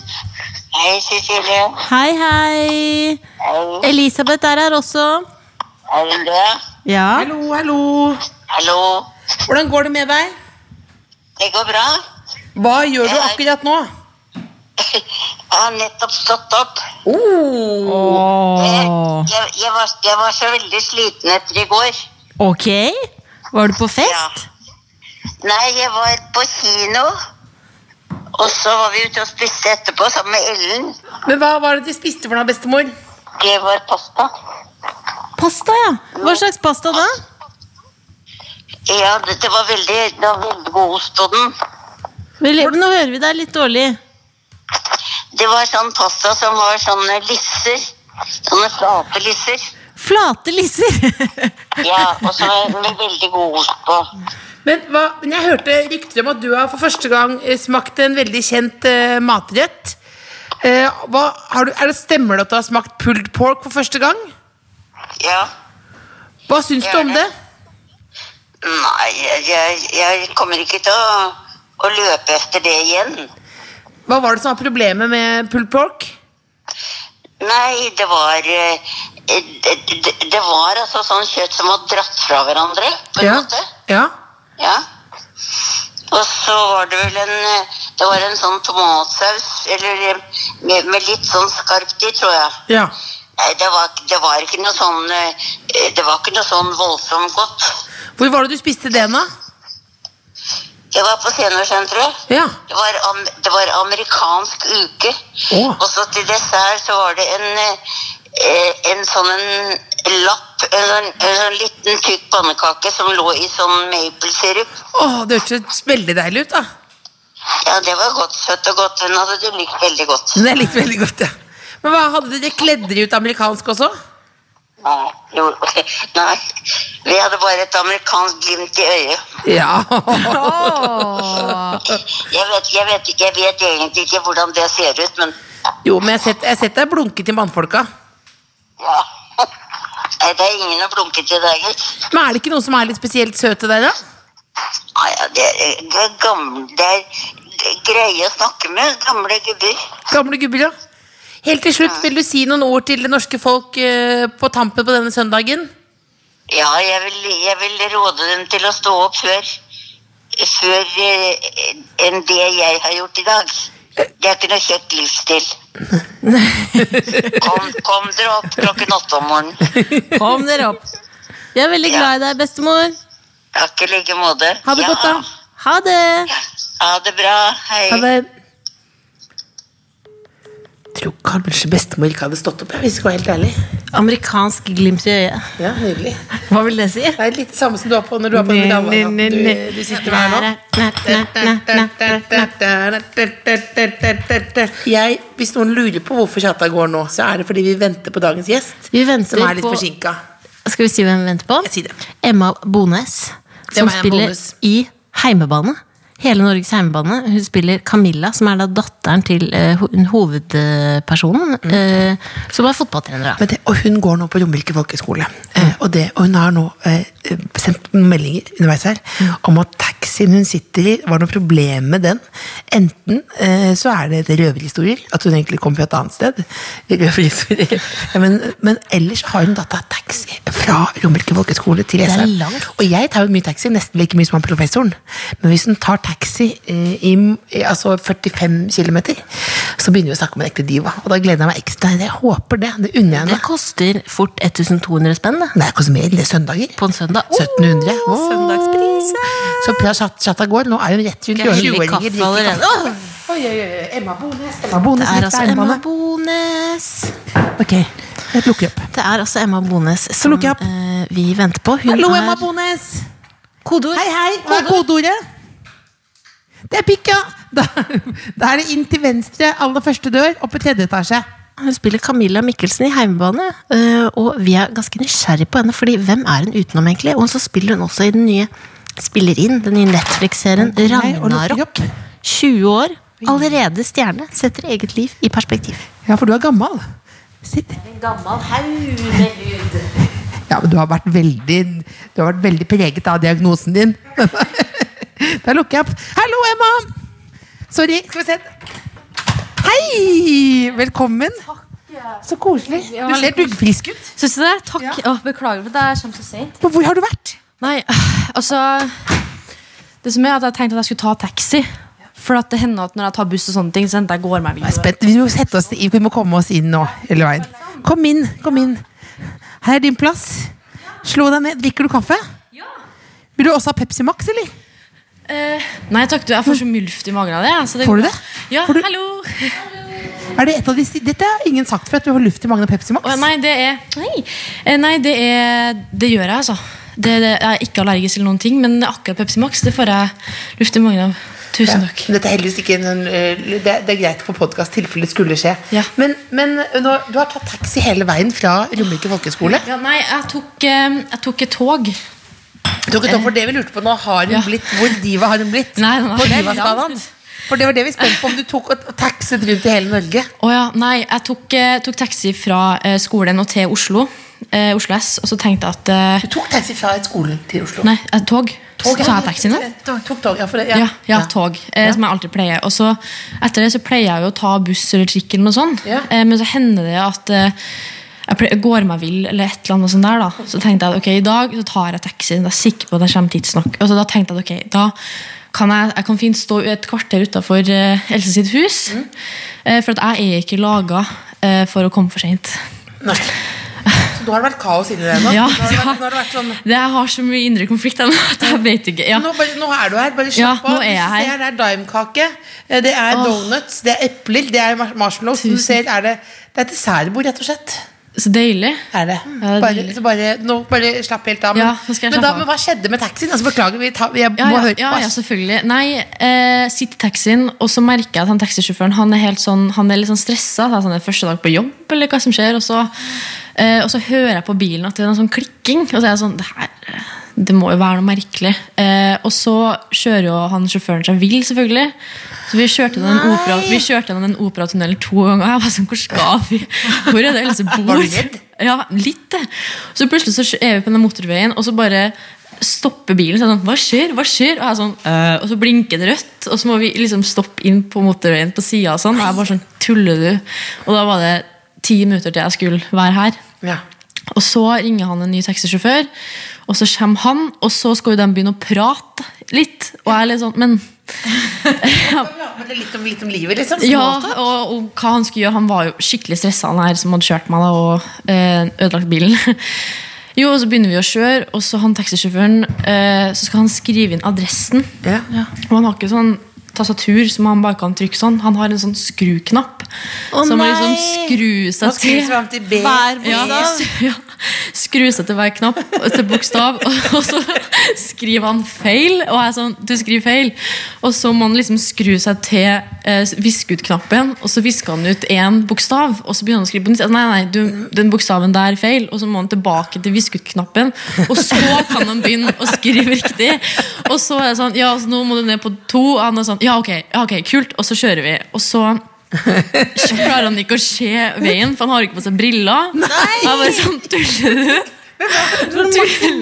Speaker 5: Hei, Cecilie.
Speaker 4: Hei, hei!
Speaker 5: Hei.
Speaker 4: Elisabeth er her også.
Speaker 5: Er du det?
Speaker 4: Ja.
Speaker 2: Hallo, hallo.
Speaker 5: Hallo.
Speaker 2: Hvordan går det med deg?
Speaker 5: Det går bra?
Speaker 2: Hva gjør du akkurat nå?
Speaker 5: Jeg har nettopp stått opp. Jeg,
Speaker 4: Åh.
Speaker 5: jeg, jeg, var, jeg var så veldig sliten etter i går.
Speaker 4: Ok. Var du på fest?
Speaker 5: Nei, jeg var på kino. Og så var vi ute og spiste etterpå sammen med Ellen.
Speaker 2: Men hhva var det du spiste for noe, bestemor?
Speaker 5: Det var pasta.
Speaker 4: Pasta, ja. Hva slags pasta da?
Speaker 5: Ja, det, det var veldig, det var veldig god ost og den.
Speaker 4: Vil-
Speaker 6: Hvordan, nå hører vi deg litt dårlig.
Speaker 5: Det var sånn pasta som var sånne lisser. Sånne flate lisser.
Speaker 6: Flate lisser!
Speaker 5: Ja, og så var det veldig god ost på.
Speaker 2: Men, hva, men jeg hørte rykter om at du har for første gang eh, smakt en veldig kjent eh, matrett. Eh, hva, har du, er det Stemmer det at du har smakt pulled pork for første gang?
Speaker 5: Ja.
Speaker 2: Hva syns du om det?
Speaker 5: Nei, jeg, jeg, jeg kommer ikke til å, å løpe etter det igjen.
Speaker 2: Hva var det som var problemet med pulled pork?
Speaker 5: Nei, det var eh, det, det, det var altså sånn kjøtt som var dratt fra hverandre, på en
Speaker 2: Ja.
Speaker 5: måte.
Speaker 2: ja.
Speaker 5: Ja. Og så var det vel en eh, Det var en sånn tomatsaus eller eh, med, med litt sånn skarpt i, tror jeg.
Speaker 2: ja.
Speaker 5: Nei, det var, det var ikke noe sånn eh, Det var ikke noe sånn voldsomt godt.
Speaker 2: Hvor var det du spiste den, da?
Speaker 5: Jeg var på seniorsenteret.
Speaker 2: Ja.
Speaker 5: Det var, am, det var amerikansk uke.
Speaker 2: Å.
Speaker 5: Og så til dessert så var det en, eh, eh, en sånn en lapp, en, sånn- en sånn liten tykk pannekake som lå i sånn maple syrup.
Speaker 2: Åh, det hørtes veldig deilig ut, da.
Speaker 5: Ja, det var godt, søtt og godt. Hun hadde du likt veldig godt.
Speaker 2: Den jeg likte veldig godt, ja. Men hva hadde dere kledder i ut amerikansk også?
Speaker 5: Nei, jo, nei, vi hadde bare et amerikansk glimt i øyet.
Speaker 2: Ja.
Speaker 5: Jeg vet, jeg vet, ikke- jeg vet egentlig ikke hvordan det ser ut, men
Speaker 2: Jo, men jeg har sett, jeg har sett deg blunke til mannfolka.
Speaker 5: ja. Nei, det er ingen å blunke til deg, gitt.
Speaker 2: Men er det ikke noen som er litt spesielt søte der, da?
Speaker 5: Nei, ja, det er, det er gamle, det er det er greie å snakke med, gamle gubber.
Speaker 2: Gamle gubber, ja. Helt til slutt, vil du si noen ord til det norske folk eh, på tampen på denne søndagen?
Speaker 5: Ja, jeg vil, jeg vil råde dem til å stå opp før, før eh, enn det jeg har gjort i dag. Det er ikke noe kjekk livsstil. Kom, kom dere opp klokken åtte om morgenen.
Speaker 6: Kom dere opp.
Speaker 4: Jeg er veldig glad i deg, bestemor.
Speaker 5: Takk i like måte.
Speaker 2: Ha det
Speaker 5: Ja.
Speaker 2: godt, da.
Speaker 4: Ha det!
Speaker 5: Ha det bra. Hei.
Speaker 2: Ha det. Jeg tror kanskje bestemor ikke hadde stått opp, jeg, hvis jeg skal være helt ærlig.
Speaker 6: Amerikansk glimt i øyet.
Speaker 2: Ja, nydelig.
Speaker 6: Hva vil det si?
Speaker 2: Det er litt det samme som du har på når du har på den gamle at du, du sitter med her nå. Jeg, hvis noen lurer på hvorfor tjata går nå, så er det fordi vi venter på dagens gjest.
Speaker 4: Vi venter
Speaker 2: som er litt
Speaker 4: på-
Speaker 2: forsinka.
Speaker 4: Skal vi si hvem vi venter på?
Speaker 2: Si det.
Speaker 4: Emma Bones,
Speaker 2: Hvem
Speaker 4: som
Speaker 2: er Emma
Speaker 4: spiller
Speaker 2: Bones?
Speaker 4: i Heimebane. Hele Norges heimebane. Hun spiller Camilla, som er da datteren til eh, ho- hovedpersonen.
Speaker 2: Mm.
Speaker 4: eh, som er fotballtrener. da.
Speaker 2: Men det, og hun går nå på Romerike folkehøgskole.
Speaker 4: Mm.
Speaker 2: Eh, og, det- og hun har nå eh, sendt noen meldinger underveis her
Speaker 4: Mm.
Speaker 2: om at taxien hun sitter i, var noe problem med den. Enten eh, så er det røverhistorier, at hun egentlig kom fra et annet sted. Røverhistorier. Ja, men, men ellers har hun da tatt taxi fra Romerike folkehøgskole til
Speaker 4: er
Speaker 2: Jessheim.
Speaker 4: langt.
Speaker 2: Og jeg tar jo mye taxi, nesten like mye som han professoren. Men hvis hun tar taxi eh, i, i altså 45 km, så begynner vi å snakke om en ekte diva. Og da gleder jeg meg ekstra. Jeg håper det. Det unner jeg
Speaker 4: Det
Speaker 2: henne.
Speaker 4: koster fort 1200 spenn da,
Speaker 2: Nei, ikke så mer. Det er søndager.
Speaker 4: på en søndag. Åh,
Speaker 2: 1700.
Speaker 4: oh.
Speaker 2: Åh.
Speaker 4: Søndagspriser!
Speaker 2: Så Pia Chatta går. Nå er hun rett rundt
Speaker 4: Jeg heller
Speaker 2: hjørnet.
Speaker 4: eh. kaffe allerede. Åh,
Speaker 2: Emma Bones,
Speaker 4: Det er altså Emma
Speaker 2: Bones.
Speaker 4: Bones.
Speaker 2: Ok, jeg lukker opp.
Speaker 4: Det er altså Emma Bones som
Speaker 2: lukker jeg opp.
Speaker 4: eh, vi venter på. Hun
Speaker 2: Hallo,
Speaker 4: er
Speaker 2: Emma Bones!
Speaker 4: kodeord.
Speaker 2: Hei, hei. Hva er kodeordet? Det er pikk, ja! Da, da er det inn til venstre, aller første dør, oppe i tredje etasje.
Speaker 4: Hun spiller Camilla Mikkelsen i Heimebane, eh, og vi er ganske nysgjerrig på henne, fordi hvem er hun utenom egentlig? Og så spiller hun også i den nye spiller inn, den nye Netflix-serien
Speaker 2: Nei, og lukker
Speaker 4: Ragnarok.
Speaker 2: opp.
Speaker 4: 20 år, allerede stjerne, setter eget liv i perspektiv.
Speaker 2: Ja, for du er gammel. Sitt.
Speaker 4: En gammel haug med hud.
Speaker 2: Ja, men du har vært veldig Du har vært veldig preget av diagnosen din. da lukker jeg opp. Hallo, Emma! Sorry. Skal vi se. Hei! Velkommen. Så koselig. Du ser duggfrisk ut.
Speaker 3: Syns du det? Takk. Å, beklager for at jeg kommer så sent.
Speaker 2: Men hvor har du vært?
Speaker 3: Nei, altså Det som er at Jeg tenkte at jeg skulle ta taxi. For at det hender at når jeg tar buss, og sånne ting Så henter jeg går meg
Speaker 2: Jeg er spent. Vi må, sette oss i, vi må komme oss inn nå. hele veien. Kom inn. kom inn. Her er din plass. Slå deg ned. Drikker du kaffe? Vil du også ha Pepsi Max, eller?
Speaker 3: Nei takk, du, jeg får så mulft i magen av det. Så det
Speaker 2: Får du det?
Speaker 3: Ja,
Speaker 2: Får du-
Speaker 3: hallo
Speaker 2: Er det et av de, dette har ingen sagt før, at du har luft i magen av Pepsi Max.
Speaker 3: Å, Nei, det er Nei, Eh, nei det er Det gjør jeg, altså. Det, det, jeg er ikke allergisk eller noen ting, men akkurat Pepsi Max det får jeg luft i magen av.
Speaker 2: Ja.
Speaker 3: Tusen takk.
Speaker 2: Dette er heldigvis ikke en sånn, eh, det, det er greit på podkast tilfelle det skulle skje.
Speaker 3: Ja.
Speaker 2: Men, men eh, nå, du har tatt taxi hele veien fra Romerike folkehøgskole.
Speaker 3: Ja, nei, jeg tok, eh, jeg tok et tog.
Speaker 2: Du kan ta for det vi lurte på nå, har hun
Speaker 3: Ja.
Speaker 2: blitt, Hvor diva har hun blitt?
Speaker 3: Nei, den har
Speaker 2: på
Speaker 3: blitt
Speaker 2: divaskalaen? For det var det vi spurte på, om du tok og og taxet rundt i hele Norge.
Speaker 3: Å ja, nei, jeg tok, eh, tok taxi fra eh, skolen og til Oslo. Eh, Oslo S. Og så tenkte jeg at eh,
Speaker 2: Du tok taxi fra skolen til Oslo.
Speaker 3: Nei, eh, tog.
Speaker 2: Tog,
Speaker 3: Så
Speaker 2: ja.
Speaker 3: tar jeg taxi nå.
Speaker 2: Tog, tog, tog, ja, for det, ja.
Speaker 3: Ja, ja, tog, eh, som jeg alltid pleier. Og så Etter det så pleier jeg jo å ta buss eller trikk, eller noe sånt.
Speaker 2: Ja.
Speaker 3: Eh, men så hender det at eh, jeg pleier, går meg vill, eller et eller annet sånt der. da Så tenkte jeg at ok, i dag så tar jeg taxi. Da er jeg sikker på at jeg kommer tidsnok. Og så da tenkte jeg at ok, da kan jeg, jeg kan fint stå et kvarter utafor eh, Else sitt hus. Eh, for at jeg er ikke laga eh, for å komme for seint.
Speaker 2: Nei. Så nå har det vært kaos inni deg nå?
Speaker 3: Ja,
Speaker 2: nå, har det vært,
Speaker 3: ja.
Speaker 2: nå har det vært sånn
Speaker 3: Det jeg har så mye indre konflikt ennå at jeg vet ikke. Ja.
Speaker 2: nå, bare, nå er du her, bare
Speaker 3: Ja,
Speaker 2: slapp
Speaker 3: nå
Speaker 2: av.
Speaker 3: er jeg
Speaker 2: Hvis du
Speaker 3: her.
Speaker 2: ser, det er daimkake, eh, det er donuts, det er epler, det er mar- marshmallows. Som Du ser, er det, det er et dessertbord, rett og slett.
Speaker 3: Så deilig.
Speaker 2: Er det.
Speaker 3: Ja, det er
Speaker 2: Bare,
Speaker 3: deilig.
Speaker 2: så bare, nå bare slapp helt av. Men,
Speaker 3: Ja, nå skal jeg
Speaker 2: men,
Speaker 3: slappe
Speaker 2: da,
Speaker 3: av.
Speaker 2: men hva skjedde med taxien? Altså, beklager, vi tar, jeg
Speaker 3: Ja,
Speaker 2: må
Speaker 3: ja,
Speaker 2: høre
Speaker 3: ja,
Speaker 2: på.
Speaker 3: ja,
Speaker 2: ass.
Speaker 3: selvfølgelig. Nei, eh, sitter i taxien, og så merker jeg at han taxisjåføren han er, helt sånn, han er litt sånn stressa. Det er sånn, det er første dag på jobb, eller hva som skjer. Og så, eh, og så hører jeg på bilen at det er noe sånn klikking. Og så er jeg sånn Det her det må jo være noe merkelig. Eh, og så kjører jo han sjåføren seg vill, selvfølgelig. Så vi kjørte gjennom en opera, vi kjørte gjennom en operatunnel to ganger. Jeg var sånn, hvor skal vi? Hvor er det liksom Else
Speaker 2: Var
Speaker 3: bor?
Speaker 2: du redd?
Speaker 3: Ja, litt. det. Så plutselig så er vi på den motorveien, og så bare stopper bilen. Så er det sånn, hva skjer? Hva skjer? Og, jeg er sånn, «Øh», og så blinker det rødt, og så må vi liksom stoppe inn på motorveien på sida. Og sånn. Og jeg bare sånn, tuller du? Og da var det ti minutter til jeg skulle være her.
Speaker 2: Ja.
Speaker 3: Og så ringer han en ny taxisjåfør, og så kommer han, og så skal jo de begynne å prate litt. Og jeg er litt sånn, men
Speaker 2: Men det er litt om, litt om livet, liksom.
Speaker 3: ja,
Speaker 2: småtalk.
Speaker 3: og, og hva han skulle gjøre Han var jo skikkelig stressa, han her som hadde kjørt meg da, og eh, ødelagt bilen. Jo, og så begynner vi å kjøre, og så han taxisjåføren eh, Så skal han skrive inn adressen.
Speaker 2: Ja.
Speaker 3: Og han har ikke sånn tastatur som han bare kan trykke sånn. Han har en sånn skruknapp.
Speaker 4: Å,
Speaker 3: som må
Speaker 4: nei!
Speaker 3: liksom skru
Speaker 2: Nå
Speaker 3: seg
Speaker 2: skriver vi
Speaker 3: til.
Speaker 2: fram til B.
Speaker 4: Hver
Speaker 3: Ja, ja. Skru seg til hver knapp til bokstav, og så skriver han feil. Og jeg er sånn, du skriver feil Og så må han liksom skru seg til eh, viske ut-knappen, og så visker han ut én bokstav. Og så begynner han å skrive på nytt. Nei, nei, du, den bokstaven der er feil. Og så må han tilbake til viske ut-knappen, og så kan han begynne å skrive riktig. Og så er det sånn, ja, så nå må du ned på to. Og han er sånn, ja, ok, ja, ok, kult. Og så kjører vi. Og så så klarer han ikke å se veien, for han har ikke på seg briller. Jeg bare sånn, tuller du?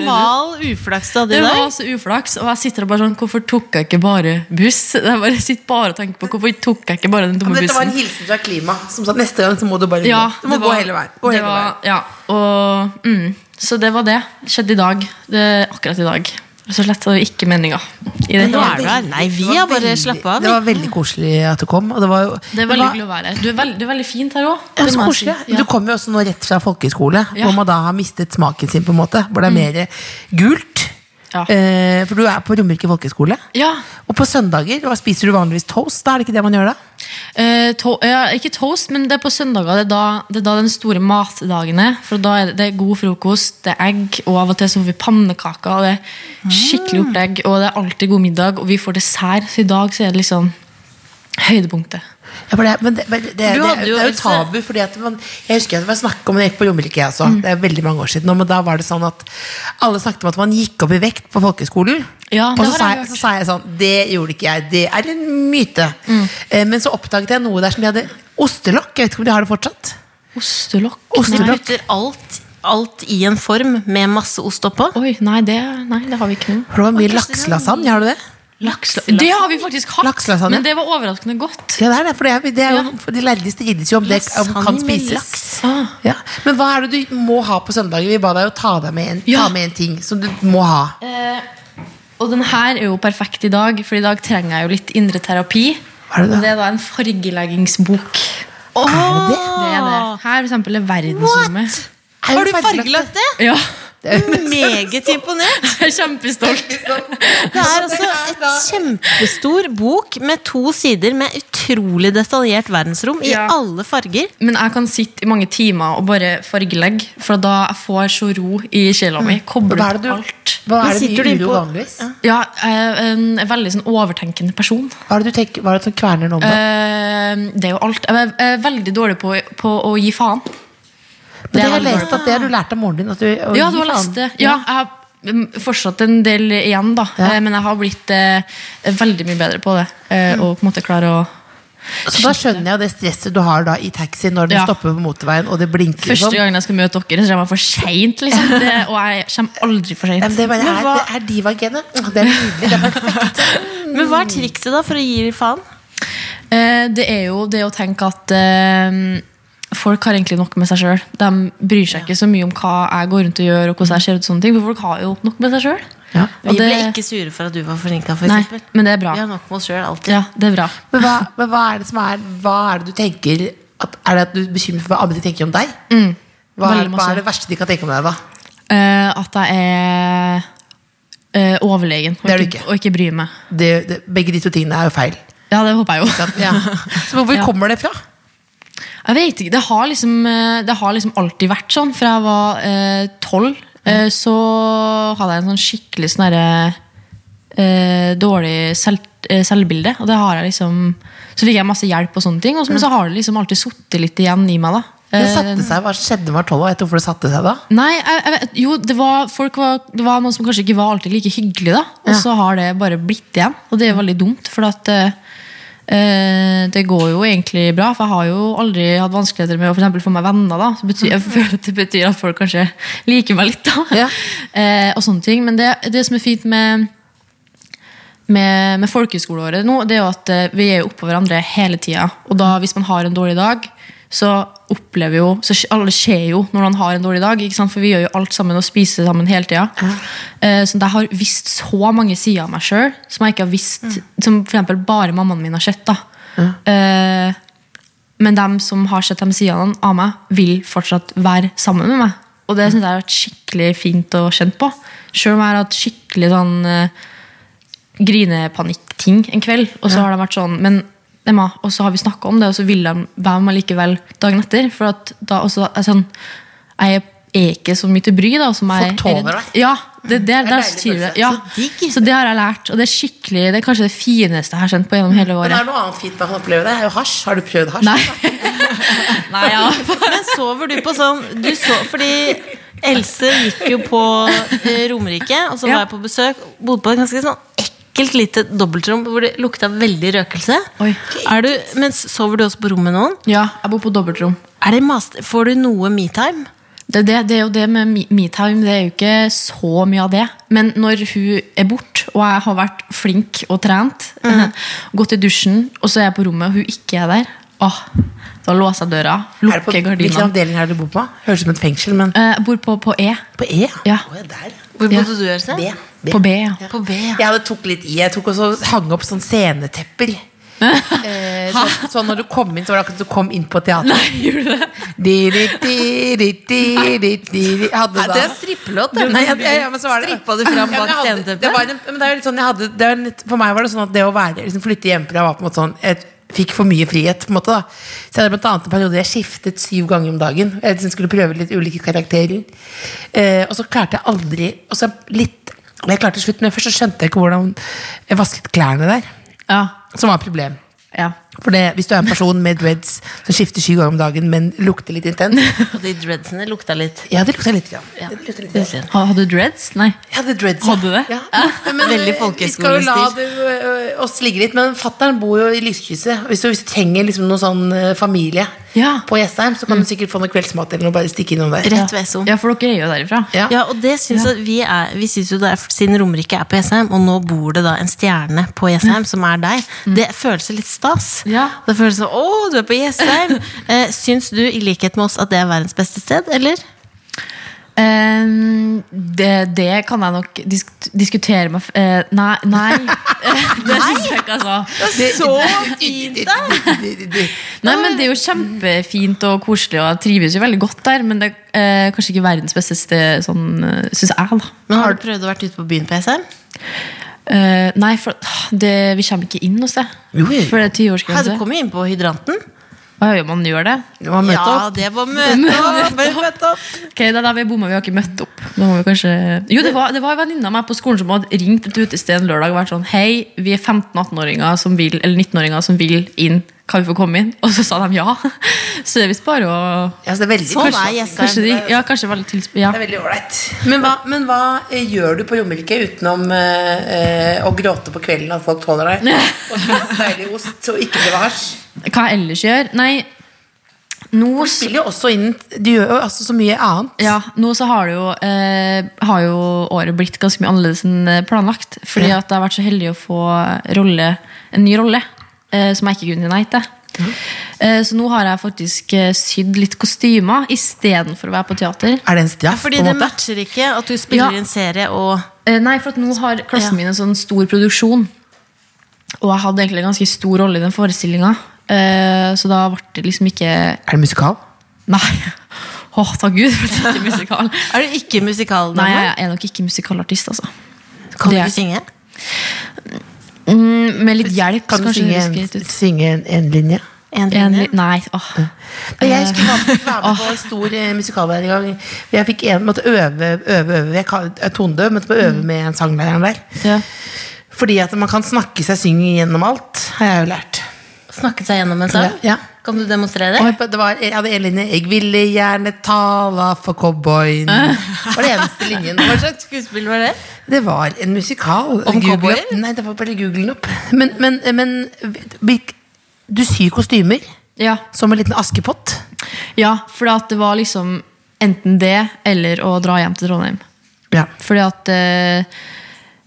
Speaker 4: Mal uflaks du hadde
Speaker 3: Det
Speaker 4: i
Speaker 3: var
Speaker 4: dag.
Speaker 3: så uflaks, og jeg sitter der bare sånn Hvorfor tok jeg ikke bare buss? Jeg bare sitter bare og tenker på Hvorfor tok jeg ikke bare den
Speaker 2: Men
Speaker 3: dumme
Speaker 2: Dette var
Speaker 3: bussen?
Speaker 2: en hilsen fra klima som sa neste gang så må du bare
Speaker 3: Ja,
Speaker 2: gå. Du må
Speaker 3: det
Speaker 2: gå
Speaker 3: var-
Speaker 2: hele veien. Gå
Speaker 3: det
Speaker 2: hele veien.
Speaker 3: var, ja, og, mm, så det var det. Skjedde i dag. Det, akkurat i dag. Rett og slett var det ikke meninga. I det.
Speaker 4: Nå
Speaker 3: hele
Speaker 4: er du her. Nei, vi
Speaker 2: Det var
Speaker 4: har bare
Speaker 2: veldig-
Speaker 4: slappa av.
Speaker 2: Det
Speaker 4: vi.
Speaker 2: var veldig koselig at du kom. Og det var jo
Speaker 3: tatt. Det er veldig hyggelig å være her. Du er veldig, det er veldig fint her òg.
Speaker 2: Ja, så koselig. Du kom jo også nå rett fra folkehøyskole,
Speaker 3: Ja. Mm.
Speaker 2: hvor man da har mistet smaken sin, på en måte. Hvor det er mer gult.
Speaker 3: Ja.
Speaker 2: Eh, for du er på Romerike folkehøgskole.
Speaker 3: Ja.
Speaker 2: Og på søndager hva spiser du vanligvis toast. Da er det ikke det man gjør da?
Speaker 3: Eh, to ja, ikke toast, men det er på søndager. Det er da, det er da den store matdagen er. For da er det, det er god frokost, det er egg, og av og til så får vi pannekaker. Og det er skikkelig opplegg, og det er alltid god middag, og vi får dessert. Så i dag så er det liksom høydepunktet.
Speaker 2: Ja, for det, er- men det, men det, det,
Speaker 4: Du
Speaker 2: det,
Speaker 4: hadde
Speaker 2: er-
Speaker 4: jo
Speaker 2: det er jo
Speaker 4: Else-
Speaker 2: tabu. Fordi at man, jeg husker at det var snakk om det jeg gikk på Romerike. jeg også. Det er veldig mange år siden. nå, Men da var det sånn at alle snakket om at man gikk opp i vekt på folkehøyskolen.
Speaker 3: Ja,
Speaker 2: og
Speaker 3: det
Speaker 2: så
Speaker 3: har
Speaker 2: sa,
Speaker 3: jeg
Speaker 2: jeg,
Speaker 3: hørt.
Speaker 2: så sa jeg sånn Det gjorde ikke jeg. Det er en myte. Eh, men så oppdaget jeg noe der som de hadde ostelokk. Jeg vet ikke om de har det fortsatt.
Speaker 3: Ostelokk?
Speaker 4: Du
Speaker 2: Ostelokk.
Speaker 4: putter alt, alt i en form med masse ost oppå.
Speaker 3: Nei. Oi, nei det, nei, det har vi ikke nå.
Speaker 2: For det var mye lakselasagne, har du det?
Speaker 3: Lakslasagne. Det har vi faktisk hatt,
Speaker 2: Lakslasagne.
Speaker 3: men det var overraskende godt.
Speaker 2: Ja, det er det, for det er, det er jo,
Speaker 3: Ja.
Speaker 2: for de lærde strides jo om det om
Speaker 4: Lasagne
Speaker 2: kan
Speaker 4: med
Speaker 2: spises.
Speaker 4: laks.
Speaker 3: Ah.
Speaker 2: Ja. Men hva er det du må ha på søndager? Vi ba deg jo ta, deg med en, ta
Speaker 3: Ja.
Speaker 2: med en ting som du må ha.
Speaker 3: Eh, og den her er jo perfekt i dag, for i dag trenger jeg jo litt indre terapi.
Speaker 2: Hva er det da?
Speaker 3: Og det er da en fargeleggingsbok.
Speaker 2: Er det det?
Speaker 3: Det er det. Her for eksempel er verdensrommet.
Speaker 2: Er
Speaker 4: Har du
Speaker 2: fargelagt
Speaker 4: fargelagt det?
Speaker 3: Ja,
Speaker 4: Meget imponert.
Speaker 3: jeg er kjempestolt.
Speaker 4: Det er altså et kjempestor bok med to sider med utrolig detaljert verdensrom i
Speaker 3: Ja.
Speaker 4: alle farger.
Speaker 3: Men jeg kan sitte i mange timer og bare fargelegge, for da jeg får så ro i sjela mi.
Speaker 2: Mm. Hva er
Speaker 3: Kobler
Speaker 2: det
Speaker 3: på
Speaker 2: du-
Speaker 3: alt.
Speaker 2: Hva er
Speaker 4: Men
Speaker 2: det
Speaker 4: sitter
Speaker 2: du
Speaker 4: du
Speaker 2: uro
Speaker 4: på-
Speaker 2: vanligvis?
Speaker 3: Ja, eh, en veldig sånn overtenkende person.
Speaker 2: Hva er det du tenker, hva er det som kverner nå om dagen?
Speaker 3: Eh, det er jo alt. Jeg er- jeg er veldig dårlig på, på å gi faen.
Speaker 2: Men det
Speaker 3: er
Speaker 2: har jeg
Speaker 3: veldig
Speaker 2: lest at det har du lært av moren din. At du, å
Speaker 3: Ja,
Speaker 2: gi
Speaker 3: du har
Speaker 2: faen.
Speaker 3: lest det. Ja, jeg har mm, fortsatt en del igjen, da.
Speaker 2: Ja.
Speaker 3: Eh, Men jeg har blitt eh, veldig mye bedre på det. Eh,
Speaker 2: Mm.
Speaker 3: og på en måte klare å
Speaker 2: Så da skjønner jeg det stresset du har da i taxi når den
Speaker 3: Ja.
Speaker 2: stopper på motorveien og det blinker
Speaker 3: Første
Speaker 2: sånn.
Speaker 3: gangen jeg skal møte dere, så kommer jeg for seint. Liksom. Det, og jeg kommer aldri for
Speaker 2: Ja, men
Speaker 3: seint.
Speaker 2: det, er bare, er, det er divagenet. Åh, Det er nydelig. Det er perfekt.
Speaker 4: Men hva er trikset da for å gi faen?
Speaker 3: Eh, det er jo det å tenke at eh, folk har egentlig nok med seg sjøl. De bryr seg ikke så mye om hva jeg går rundt og gjør, og hvordan jeg ser ut. og sånne ting For folk har jo nok med seg sjøl.
Speaker 2: Ja.
Speaker 4: Vi ble ikke sure for at du var forsinka, for
Speaker 3: Nei,
Speaker 4: eksempel.
Speaker 3: men det er bra.
Speaker 4: Vi har nok med oss sjøl alltid.
Speaker 3: Ja, det er bra.
Speaker 2: Men, hva, men hva er det som er Hva er det du tenker at, Er det at du er bekymret for hva andre tenker om deg? Hva,
Speaker 3: Mm. Veldig
Speaker 2: er, hva
Speaker 3: masse.
Speaker 2: er det verste de kan tenke om deg, da?
Speaker 3: Eh, at jeg er eh, overlegen og
Speaker 2: Det er du
Speaker 3: ikke,
Speaker 2: ikke.
Speaker 3: og ikke bryr meg.
Speaker 2: Det, det, begge de to tingene er jo feil.
Speaker 3: Ja, det håper jeg jo.
Speaker 2: Så hvor
Speaker 3: Ja.
Speaker 2: kommer det fra?
Speaker 3: Jeg vet ikke, det har liksom, eh, det har liksom alltid vært sånn. Fra jeg var eh, tolv, så hadde jeg en sånn skikkelig sånn herre eh, dårlig selv, eh, selvbilde. Og det har jeg liksom Så fikk jeg masse hjelp, og sånne ting og så, men så har det liksom alltid sittet litt igjen i meg. da
Speaker 2: Det
Speaker 3: Eh,
Speaker 2: satte seg, Hva skjedde da du var tolv år? Vet du hvorfor det satte seg da?
Speaker 3: Nei, jeg, jeg, vet- jo, det var, folk var, det var noen som kanskje ikke var alltid like hyggelig da. Og så har det bare blitt igjen. Og det er veldig dumt, for at, eh, eh, det går jo egentlig bra. For jeg har jo aldri hatt vanskeligheter med å for eksempel få meg venner. da. Så betyr, jeg føler at det betyr at folk kanskje liker meg litt. da. Eh, og sånne ting. Men det, det som er fint med med, med folkehøyskoleåret nå, det er jo at eh, vi er jo oppå hverandre hele tida. Og da, hvis man har en dårlig dag, så opplever jo så skj- Alle ser jo når man har en dårlig dag, ikke sant? for vi gjør jo alt sammen og spiser sammen hele tida. Eh, Så jeg har visst så mange sider av meg sjøl som jeg ikke har visst Som for eksempel bare mammaen min har sett. da Eh, men dem som har sett de sidene av meg, vil fortsatt være sammen med meg. Og det synes jeg har vært skikkelig fint og kjent på. Selv om jeg har hatt skikkelig sånn eh, grinepanikk-ting en kveld, og så har de vært sånn Men Emma, og så har vi snakka om det, og så vil de være med meg likevel dagen etter. For at da også er sånn Jeg er ikke så mye til bry, da. Som jeg,
Speaker 2: Folk tåler
Speaker 3: er redd-
Speaker 2: deg.
Speaker 3: Ja, det, det, det,
Speaker 2: Det er
Speaker 3: er
Speaker 2: deilig
Speaker 3: så tydelig.
Speaker 2: følelse.
Speaker 3: Ja.
Speaker 2: Så digg.
Speaker 3: Så det har jeg lært, og det er skikkelig Det er kanskje det fineste jeg har kjent på gjennom hele
Speaker 2: Men det
Speaker 3: året.
Speaker 2: er noe annet fint man kan oppleve det. er jo hasj. Har du prøvd hasj?
Speaker 3: Nei. Nei, ja.
Speaker 4: Men sover du på sånn du så, Fordi Else gikk jo på eh, Romerike, og så
Speaker 3: Ja.
Speaker 4: var jeg på besøk. Bodde på et ganske sånn ekkelt lite dobbeltrom hvor det lukta veldig røkelse.
Speaker 3: Oi.
Speaker 4: Er du, men sover du også på rom med noen?
Speaker 3: ja, jeg bor på dobbeltrom.
Speaker 4: Er det master, får du noe metime?
Speaker 3: Det, det, det er jo det med me- metime, det er jo ikke så mye av det. Men når hun er borte, og jeg har vært flink og trent,
Speaker 2: Mhm.
Speaker 3: gått i dusjen, og så er jeg på rommet, og hun ikke er der, åh, da låser jeg døra,
Speaker 2: Er det på,
Speaker 3: lukker
Speaker 2: hvilken
Speaker 3: gardinene.
Speaker 2: avdeling er det du bor på? Høres ut som et fengsel, men
Speaker 3: Eh, Jeg bor på, på E.
Speaker 2: på E?
Speaker 3: Ja.
Speaker 2: Å, der.
Speaker 4: Hvor
Speaker 3: Ja.
Speaker 4: bodde du, Else?
Speaker 2: B. B.
Speaker 3: På B, ja.
Speaker 4: På B, ja.
Speaker 2: Jeg hadde tok litt i. Jeg tok også hang opp sånn scenetepper. eh, så, så når du kom inn, så var det akkurat som du kom inn på teater. Di, di, di, di, di, di, di, di. Jeg Hadde da
Speaker 4: strippelåt.
Speaker 2: Nei, ja, ja, ja, men så var det
Speaker 4: Strippa du fram
Speaker 2: Ja, men jeg
Speaker 4: bak
Speaker 2: hadde-
Speaker 4: sceneteppet?
Speaker 2: det var en- men det er jo litt sånn jeg hadde, det er en litt, For meg var det sånn at det å være, liksom, flytte hjemmefra var på en måte sånn Jeg fikk for mye frihet, på en måte. da Så jeg hadde blant annet en periode jeg skiftet syv ganger om dagen. Jeg liksom skulle prøve litt ulike karakterer. Eh, og så klarte jeg aldri Og så litt og jeg klarte til slutt, men først så skjønte jeg ikke hvordan jeg vasket klærne der.
Speaker 3: Ja.
Speaker 2: Som var et problem.
Speaker 3: ja.
Speaker 2: For det, hvis du er en person med dreads som skifter sju ganger om dagen, men lukter litt intens
Speaker 4: Og de dreadsene lukta litt.
Speaker 2: Ja, det lukta litt. Grann.
Speaker 4: Ja.
Speaker 2: Det lukta litt grann.
Speaker 4: Litt.
Speaker 3: Ha- Hadde du dreads? Nei.
Speaker 2: Jeg hadde dreads.
Speaker 3: Hadde du det?
Speaker 2: Ja. Men, men, eh,
Speaker 4: Veldig
Speaker 2: Vi skal jo la
Speaker 4: folkehøyskolestil.
Speaker 2: det, ø, ø, oss ligge litt, men fattern bor jo i lyskrysset. Hvis, du- hvis du trenger liksom noe sånn ø, familie
Speaker 3: Ja.
Speaker 2: på Jessheim, så kan du sikkert få noe kveldsmat eller noe, bare stikke innom der.
Speaker 4: Rett ved Esso.
Speaker 3: Ja, for dere er jo derifra.
Speaker 2: Ja.
Speaker 4: Ja, og det synes jeg vi, er, vi synes jo det er Siden Romerike er på Jessheim, og nå bor det da en stjerne på
Speaker 2: Mm.
Speaker 4: Jessheim, som er deg, det føles litt stas.
Speaker 3: Ja.
Speaker 4: Det føles som Å, du er på Jessheim! eh, syns du, i likhet med oss, at det er verdens beste sted, eller?
Speaker 3: Ehm, det, det kan jeg nok disk diskutere med f- eh, Nei. nei. det syns jeg ikke, altså.
Speaker 4: Så fint, da!
Speaker 3: Nei, men Det er jo kjempefint og koselig, og jeg trives jo veldig godt der. Men det er eh, kanskje ikke verdens beste sted, sånn, eh, syns jeg. da
Speaker 4: Men har du prøvd å vært ute på byen på Jessheim?
Speaker 3: Eh, Nei, for det, vi kommer ikke inn noe sted.
Speaker 2: Jo, jo, jo.
Speaker 3: For det er
Speaker 4: Hei, du
Speaker 3: tiårsgrense.
Speaker 4: kom jo inn på Hydranten.
Speaker 3: Hva gjør man gjør det?
Speaker 2: Det var møte opp.
Speaker 4: det var møte opp! Møte opp.
Speaker 3: Ok, det er der vi bomma, vi har ikke møtt opp. Da må vi kanskje... Jo, det var, det var en venninne av meg på skolen som hadde ringt et utested en lørdag og vært sånn Hei, vi er 15-18-åringer som vil, eller 19-åringer som vil inn. Kan vi få komme inn? Og så sa de ja. Så det er visst bare å
Speaker 2: Ja, så det er veldig
Speaker 4: Sånn
Speaker 2: kanskje-
Speaker 4: er gjestene.
Speaker 3: Kanskje de, ja, kanskje det var litt tilsp... Ja.
Speaker 2: Det er veldig ålreit. Men, hva- men hva eh, gjør du på Romerike utenom eh, eh, å gråte på kvelden at folk tåler deg? Og spise deilig ost og ikke drive hasj?
Speaker 3: Hva jeg ellers gjør? Nei, nå
Speaker 2: Du spiller jo også inn Du gjør jo altså så mye annet.
Speaker 3: Ja, nå så har det jo, eh, har jo året blitt ganske mye annerledes enn eh, planlagt. Fordi
Speaker 2: Ja.
Speaker 3: at jeg har vært så heldig å få rolle, en ny rolle eh, som jeg ikke kunne si nei til.
Speaker 2: Mhm.
Speaker 3: Eh, så nå har jeg faktisk eh, sydd litt kostymer istedenfor å være på teater.
Speaker 2: Er det en straff?
Speaker 4: Fordi
Speaker 2: på
Speaker 4: det
Speaker 2: en måte?
Speaker 4: matcher ikke at du spiller
Speaker 3: Ja.
Speaker 4: i en serie og
Speaker 3: Eh, nei, for at nå har klassen min en sånn stor produksjon. Og jeg hadde egentlig en ganske stor rolle i den forestillinga. Eh, så da ble det liksom ikke
Speaker 2: Er det musikal?
Speaker 3: Nei. Åh, takk Gud for at det ikke er musikal.
Speaker 4: Er du ikke musikaldame?
Speaker 3: Nei, jeg er nok ikke musikalartist, altså.
Speaker 4: Kan du
Speaker 3: det er-
Speaker 4: ikke synge?
Speaker 3: Mm, med litt hjelp,
Speaker 2: Kan du
Speaker 3: kanskje.
Speaker 2: synge
Speaker 3: det høres greit
Speaker 2: en,
Speaker 3: ut.
Speaker 2: synge en, en linje?
Speaker 4: En
Speaker 3: En
Speaker 4: linje?
Speaker 3: li- Nei. åh.
Speaker 2: Men Jeg skulle være være med på en stor eh, musikalverden en gang. Jeg fikk en, måtte øve, øve, øve. Jeg kan- er tonedøv, måtte øve med en sanglæreren der.
Speaker 3: Ja.
Speaker 2: Fordi at man kan snakke seg syng gjennom alt, har jeg jo lært.
Speaker 4: Snakket seg gjennom en sang?
Speaker 2: Ja.
Speaker 4: Kan du demonstrere det?
Speaker 2: Og det var, jeg hadde en linje 'Jeg ville gjerne tala for cowboyen'. Det var det eneste linjen.
Speaker 4: Hva slags skuespill var det?
Speaker 2: Det var en musikal.
Speaker 4: Om
Speaker 2: Google
Speaker 4: cowboyer?
Speaker 2: opp- Nei, det var bare google den opp. Men, men, men hvilk- du syr kostymer
Speaker 3: Ja.
Speaker 2: som en liten askepott.
Speaker 3: ja, for at det var liksom enten det eller å dra hjem til Trondheim.
Speaker 2: Ja.
Speaker 3: Fordi at eh,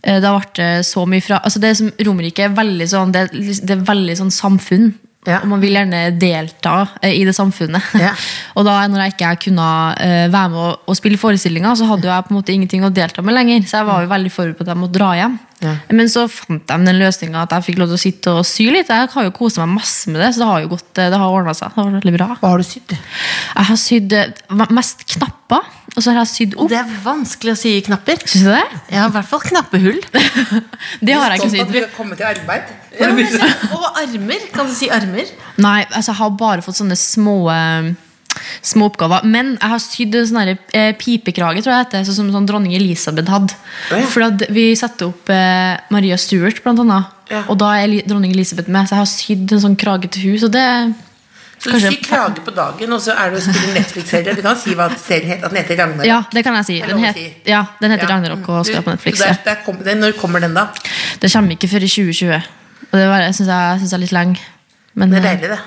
Speaker 3: eh, da ble det så mye fra altså det som Romerike er veldig sånn det, er lis- det er veldig sånn samfunn.
Speaker 2: Ja.
Speaker 3: Og man vil gjerne delta eh, i det samfunnet.
Speaker 2: Ja.
Speaker 3: og da når jeg ikke kunne eh, være med og, og spille forestillinga, så hadde jo jeg på en måte ingenting å delta med lenger. Så jeg var jo veldig forberedt på at jeg måtte dra hjem.
Speaker 2: Mm. Ja.
Speaker 3: Men så fant de den løsninga at jeg fikk lov til å sitte og sy litt. Jeg har jo koset meg masse med det, så det har jo gått, eh, det har ordna seg. Det har vært veldig bra.
Speaker 2: Hva har du sydd?
Speaker 3: Jeg har sydd eh, mest knapper, og så har jeg sydd opp.
Speaker 4: Det er vanskelig å sy i knapper.
Speaker 3: Syns du det?
Speaker 4: Ja, i hvert fall knappehull.
Speaker 3: Det har jeg ikke sydd.
Speaker 2: komme til arbeid.
Speaker 4: Og armer. Kan du si armer?
Speaker 3: Nei, altså jeg har bare fått sånne små eh, Små oppgaver Men jeg har sydd en sånn her, eh, pipekrage Tror jeg det heter, sånn som sånn dronning Elisabeth hadde For at vi sette opp eh, Maria Stuart blant annet Og da er Eli- dronning Elisabeth med Så jeg har sydd en sånn krage til hus Og det
Speaker 2: Så du syr krage på dagen, og så er du og spiller Netflix-serie. Du kan si hva serien heter. At den heter Ragnar.
Speaker 3: ja, det kan jeg si.
Speaker 2: Det er
Speaker 3: Den,
Speaker 2: lov å
Speaker 3: het,
Speaker 2: si.
Speaker 3: ja, den heter
Speaker 2: Ja. Mm.
Speaker 3: Ragnarok og skal være på Netflix.
Speaker 2: Så
Speaker 3: Ja.
Speaker 2: der, der kom, den, når kommer den, da?
Speaker 3: Det kommer ikke før i 2020. Og det var, synes jeg synes jeg er litt lenge. Men
Speaker 2: Det er
Speaker 3: eh,
Speaker 2: deilig, det.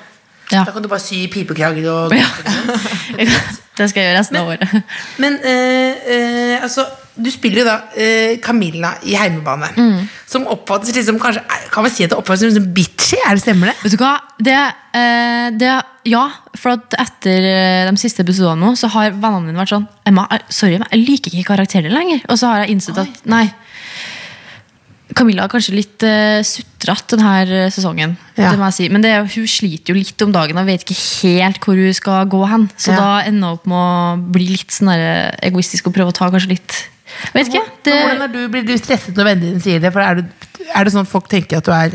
Speaker 3: Ja.
Speaker 2: Da kan du bare sy pipekrager og
Speaker 3: Ja. det skal jeg gjøre resten av året.
Speaker 2: Men eh, eh, altså, du spiller jo da eh, Camilla i Heimebane.
Speaker 3: Mm.
Speaker 2: Som oppfattes liksom kanskje er- Kan man si at det oppfattes som liksom bitchy? Er det stemmer, det?
Speaker 3: Vet du hva? Det, eh, det, ja, for at etter eh, de siste episodene nå, så har vennene mine vært sånn Emma, eh, sorry, men jeg liker ikke karakteren lenger. Og så har jeg innsett at nei. Camilla er kanskje litt uh, sutrete denne eh, sesongen.
Speaker 2: Ja.
Speaker 3: Det må jeg si. Men det, er jo- hun sliter jo litt om dagen og vet ikke helt hvor hun skal gå hen. Så
Speaker 2: Ja.
Speaker 3: da ender hun opp med å bli litt sånn der, eh, egoistisk og prøve å ta kanskje litt Jeg vet ikke. Det,
Speaker 2: Men Hvordan er du, Blir du stresset når vennene dine sier det? For er, du, er det sånn folk tenker at du er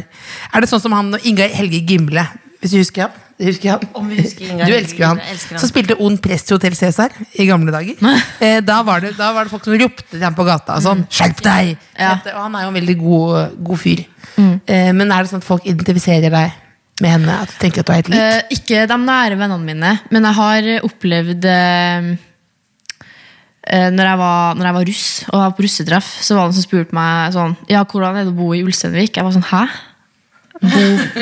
Speaker 2: Er det sånn som han og Inga Helge Gimle? Hvis du husker han? Du husker han.
Speaker 4: Om vi husker
Speaker 2: du
Speaker 4: Ingar Helge
Speaker 2: elsker jo han.
Speaker 4: Gimle, elsker han.
Speaker 2: Som spilte ond prest i Hotell Cæsar i gamle dager. Eh, da, var det, da var det folk som ropte til ham på gata og sånn 'Skjerp deg!'
Speaker 3: Ja.
Speaker 2: Og han er jo en veldig god, god fyr.
Speaker 4: Mm.
Speaker 2: Eh, men er det sånn at folk identifiserer deg med henne? At du tenker at du er helt lik?
Speaker 3: Eh, ikke de nære vennene mine, men jeg har opplevd eh, eh, når, jeg var, når jeg var russ og var på russetreff, så var det noen som spurte meg sånn Ja, hvordan er det å bo i Ulsteinvik? Jeg var sånn Hæ? Bo,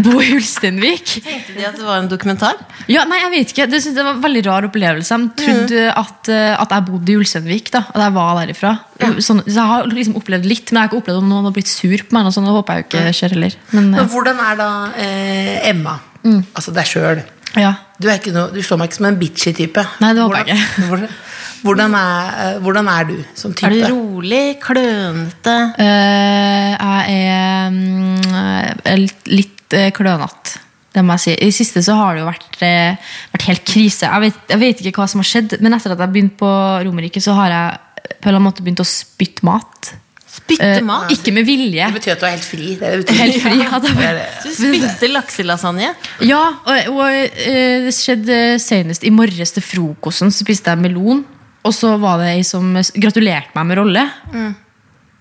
Speaker 3: bo i Ulsteinvik?
Speaker 4: Tenkte de at det var en dokumentar?
Speaker 3: Ja, nei, jeg vet ikke. Det, synes jeg var en veldig rar opplevelse. De trodde at, eh, at jeg bodde i Ulsteinvik. da, At jeg var derifra. Sånn, så jeg har liksom opplevd litt, men jeg har ikke opplevd om noen har blitt sur på meg. Og sånn, det håper jeg jo ikke skjer heller. Men,
Speaker 2: Men hvordan er da eh, Emma?
Speaker 4: Mm.
Speaker 2: Altså deg sjøl.
Speaker 3: eh, ja.
Speaker 2: Du, er ikke noe, du slår meg ikke som en bitchy type.
Speaker 3: Nei, det håper jeg
Speaker 2: Hvordan- Hvordan, hvordan, er, eh, hvordan er du som type?
Speaker 4: Er du rolig, klønete?
Speaker 3: Eh, jeg er mm, eh, litt, litt eh, klønete. Det må jeg si. I det siste så har det jo vært, eh, vært helt krise. Jeg vet, jeg vet ikke hva som har skjedd, men etter at jeg begynte på Romerike, så har jeg eh, på en eller annen måte begynt å spytte mat.
Speaker 4: Spytte mat?
Speaker 3: Ikke med vilje.
Speaker 2: Det betyr at du er helt fri. Det er det det betyr.
Speaker 3: Helt fri. Ja, det
Speaker 2: Det
Speaker 3: var,
Speaker 2: er det.
Speaker 4: Du spytter lakselasagne?
Speaker 3: ja og, og eh, det skjedde senest i morges til frokosten. Så spiste jeg melon, og så var det ei som gratulerte meg med rolle.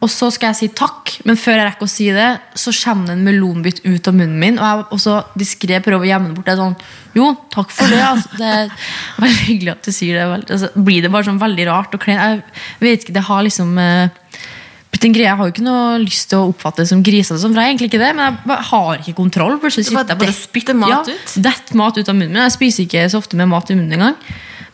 Speaker 3: Og så skal jeg si takk, men før jeg rekker å si det, så kommer det en melonbit ut av munnen min. Og jeg og så diskré prøver å gjemme den bort. Jeg er sånn, jo, takk for det. Altså, det er veldig hyggelig at du sier det. vel. Altså, blir det bare sånn veldig rart og kleint? Jeg vet ikke, det har liksom... Eh, blitt en greie. jeg har jo ikke noe lyst til å oppfatte det som grisete, og sånn, for jeg er egentlig ikke det, men jeg bare har ikke kontroll. Plutselig
Speaker 4: bare
Speaker 3: sitter jeg bare og
Speaker 4: detter
Speaker 3: spytter-
Speaker 4: mat
Speaker 3: Ja, detter mat ut av munnen min. Jeg spiser ikke så ofte med mat i munnen engang.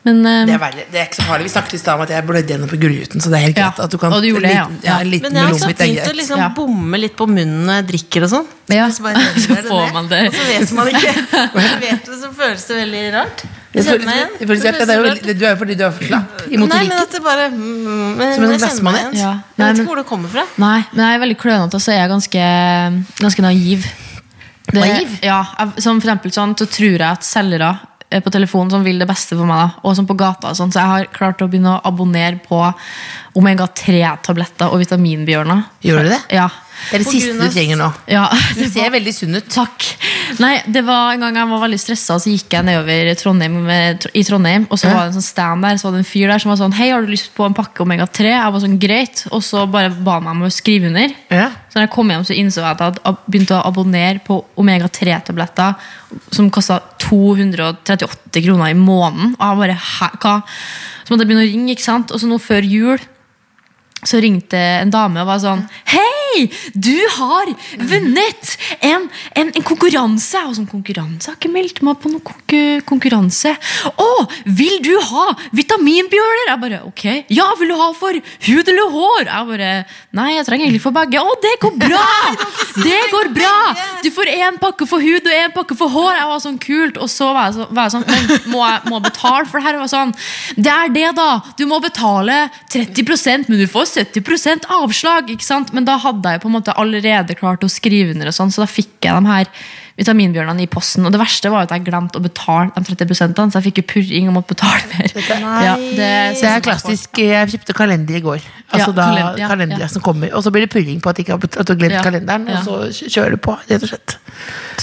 Speaker 3: Men eh,
Speaker 2: Det er, verre. det er ikke så farlig. Vi snakket i stad om at jeg blødde gjennom på gullruten, så det er helt
Speaker 3: Ja,
Speaker 2: greit. At du kan,
Speaker 3: og du gjorde det, ja.
Speaker 2: en liten, ja, en liten
Speaker 4: Men jeg har også
Speaker 2: melonbit er
Speaker 4: begynt å
Speaker 2: greit.
Speaker 4: liksom
Speaker 3: Ja.
Speaker 4: bomme litt på munnen når jeg drikker og sånn.
Speaker 3: ja,
Speaker 4: Så bare renner
Speaker 3: så
Speaker 4: det
Speaker 3: får
Speaker 4: ned,
Speaker 3: man det.
Speaker 4: Og så vet man ikke. Så vet du, så føles det veldig rart.
Speaker 2: Det
Speaker 4: Jeg
Speaker 2: føles-
Speaker 4: kjenner meg igjen.
Speaker 2: det føles rart, ja, det er jo veldig- Du er jo fordi du er for slapp i
Speaker 4: Nei, men
Speaker 2: motorikken.
Speaker 4: at det bare mm,
Speaker 2: Som
Speaker 4: men
Speaker 2: en
Speaker 4: jeg kjenner meg
Speaker 2: glassmanet.
Speaker 4: igjen.
Speaker 3: Ja.
Speaker 4: Jeg
Speaker 3: Nei,
Speaker 4: vet
Speaker 3: men-
Speaker 4: ikke hvor det kommer fra.
Speaker 3: Nei, men jeg er veldig klønete, og så er jeg ganske, ganske naiv. Det-
Speaker 4: Naiv?
Speaker 3: Ja, jeg, som for eksempel sånn, så tror jeg at selgere eh, på telefon som vil det beste for meg, da, og som på gata, og sånn, så jeg har klart å begynne å abonnere på omega-3-tabletter og vitaminbjørner.
Speaker 2: Gjør du det?
Speaker 3: Ja.
Speaker 2: Det er det siste du trenger nå.
Speaker 3: Ja,
Speaker 2: Du ser veldig sunn ut.
Speaker 3: Takk. Nei, det var En gang jeg var veldig stressa, så gikk jeg nedover Trondheim, med, i Trondheim. Og så var det en sånn stand der, så var det en fyr der som var sånn Hei, har du lyst på en pakke Omega-3? Jeg var sånn, greit. Og så bare ba han meg om å skrive under.
Speaker 2: Ja.
Speaker 3: Så når jeg kom hjem, så innså jeg at jeg hadde ab- begynt å abonnere på Omega-3-tabletter som kosta 238 kroner i måneden. Og jeg bare, hæ, hva? Så måtte jeg begynne å ringe, ikke sant? Og så nå før jul så ringte en dame og var sånn Hei, du har vunnet en, en, en konkurranse! Jeg var sånn, konkurranse? Jeg har ikke meldt meg på noen konku- konkurranse. Å, vil du ha vitaminbjørner? Jeg bare, ok. Ja, vil du ha for hud eller hår? Jeg bare, nei, jeg trenger egentlig for begge. Å, det går bra! Det går bra! Du får én pakke for hud og én pakke for hår. Jeg var sånn, kult. Og så var jeg, så, var jeg sånn, men må jeg må jeg betale for det her? Og jeg var sånn, det er det da! Du må betale 30 men du får 70 avslag. ikke sant? Men da hadde jeg jo på en måte allerede klart å skrive under, og sånn, så da fikk jeg de her vitaminbjørnene i posten. Og det verste var at jeg glemte å betale de 30 så jeg fikk jo purring og måtte betale mer. Ja, det,
Speaker 2: Så jeg er klassisk, eh, jeg kjøpte kalender i går. Altså
Speaker 3: Ja,
Speaker 2: da,
Speaker 3: kalender, ja,
Speaker 2: kalender
Speaker 3: ja.
Speaker 2: som kommer Og så blir det purring på at, ikke, at du har glemt
Speaker 3: Ja,
Speaker 2: kalenderen,
Speaker 3: ja.
Speaker 2: og så kj- kjører du på. rett og slett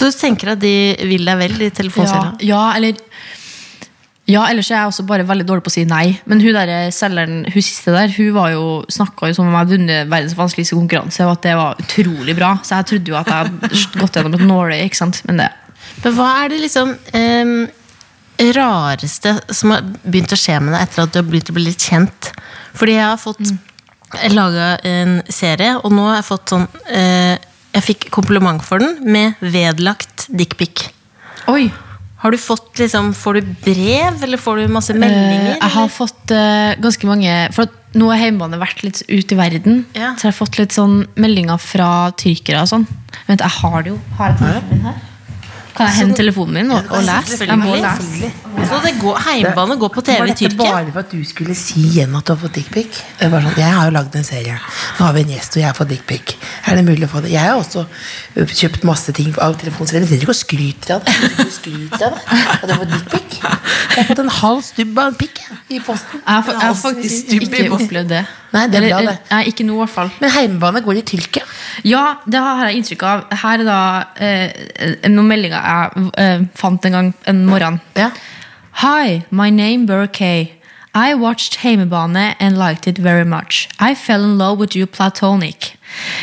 Speaker 4: Så du tenker at de vil deg vel, de
Speaker 3: ja,
Speaker 4: telefonselgerne?
Speaker 3: ja, eller ja, ellers er jeg også bare veldig dårlig på å si nei. Men hun der selgeren, hun siste der, hun var jo, snakka jo som om jeg hadde vunnet verdens vanskeligste konkurranse, og at det var utrolig bra. Så jeg trodde jo at jeg hadde gått gjennom et nåløye, ikke sant. Men det
Speaker 4: Men hva er det liksom ehm, rareste som har begynt å skje med deg etter at du har begynt å bli litt kjent? Fordi jeg har fått laga en serie, og nå har jeg fått sånn eh, Jeg fikk kompliment for den med vedlagt dickpic.
Speaker 3: Oi!
Speaker 4: Har du fått liksom, Får du brev, eller får du masse
Speaker 3: Eh,
Speaker 4: meldinger?
Speaker 3: jeg har fått eh, ganske mange For at nå har hjemmebane vært litt ute i verden.
Speaker 4: Ja.
Speaker 3: Så jeg har fått litt sånn meldinger fra tyrkere og sånn. Vent, jeg har det jo. Har jeg telefonen min her? Kan jeg hente telefonen min og, og lese? Jeg må lese.
Speaker 4: eller? Så det går, heimebane går på
Speaker 2: Var
Speaker 4: TV i
Speaker 2: dette
Speaker 4: Tyrkia?
Speaker 2: bare for at du skulle si igjen at du har fått dickpic? Jeg var sånn, jeg har jo lagd en serie. Nå har vi en gjest, og jeg har fått dickpic. Er det mulig å få det? Jeg har også ø, kjøpt masse ting av telefonselgere. Sitter ikke og skryter av det. Jeg sitter ikke og skryter av det. At jeg har fått dickpic. Jeg har fått en halv stubb av en pikk jeg, i posten.
Speaker 3: Jeg har, fa- jeg har
Speaker 2: Altså,
Speaker 3: faktisk
Speaker 2: stubb i
Speaker 3: ikke
Speaker 2: posten.
Speaker 3: opplevd det.
Speaker 2: Nei, det er bra, det.
Speaker 3: Nei, ikke nå, i hvert fall.
Speaker 2: Men heimebane går i Tyrkia.
Speaker 3: Ja, det har jeg inntrykk av. Her er da eh, noen meldinger jeg eh, fant en gang en morgen.
Speaker 2: Ja.
Speaker 3: Hi, my name Burkay. I watched Heimebane and liked it very much. I fell in love with you platonic.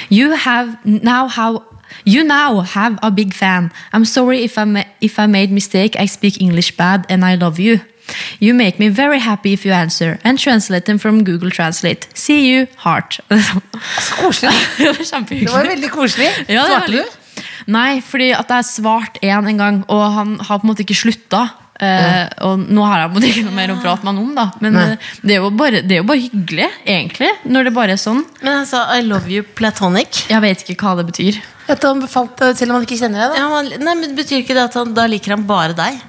Speaker 3: You have now how you now have a big fan. I'm sorry if I ma- if I made mistake. I speak English bad and I love you. You make me very happy if you answer and translate them from Google Translate. See you, heart. Så
Speaker 2: koselig.
Speaker 3: det var kjempehyggelig.
Speaker 2: Det var veldig koselig.
Speaker 3: Ja, det er
Speaker 2: Svarte du?
Speaker 3: veldig- Nei, fordi at jeg svarte én en gang, og han har på en måte ikke slutta. Eh, og nå har jeg på en måte ikke noe mer å prate med han om, da. Men eh, det er, jo bare, det er jo bare hyggelig, egentlig. Når det bare er sånn.
Speaker 4: Men han sa 'I love you platonic'.
Speaker 3: Jeg vet ikke hva det betyr.
Speaker 2: At han befalte, eh, selv om han ikke kjenner deg, da.
Speaker 4: Ja, han, nei, men Betyr ikke det at han, da liker han bare deg?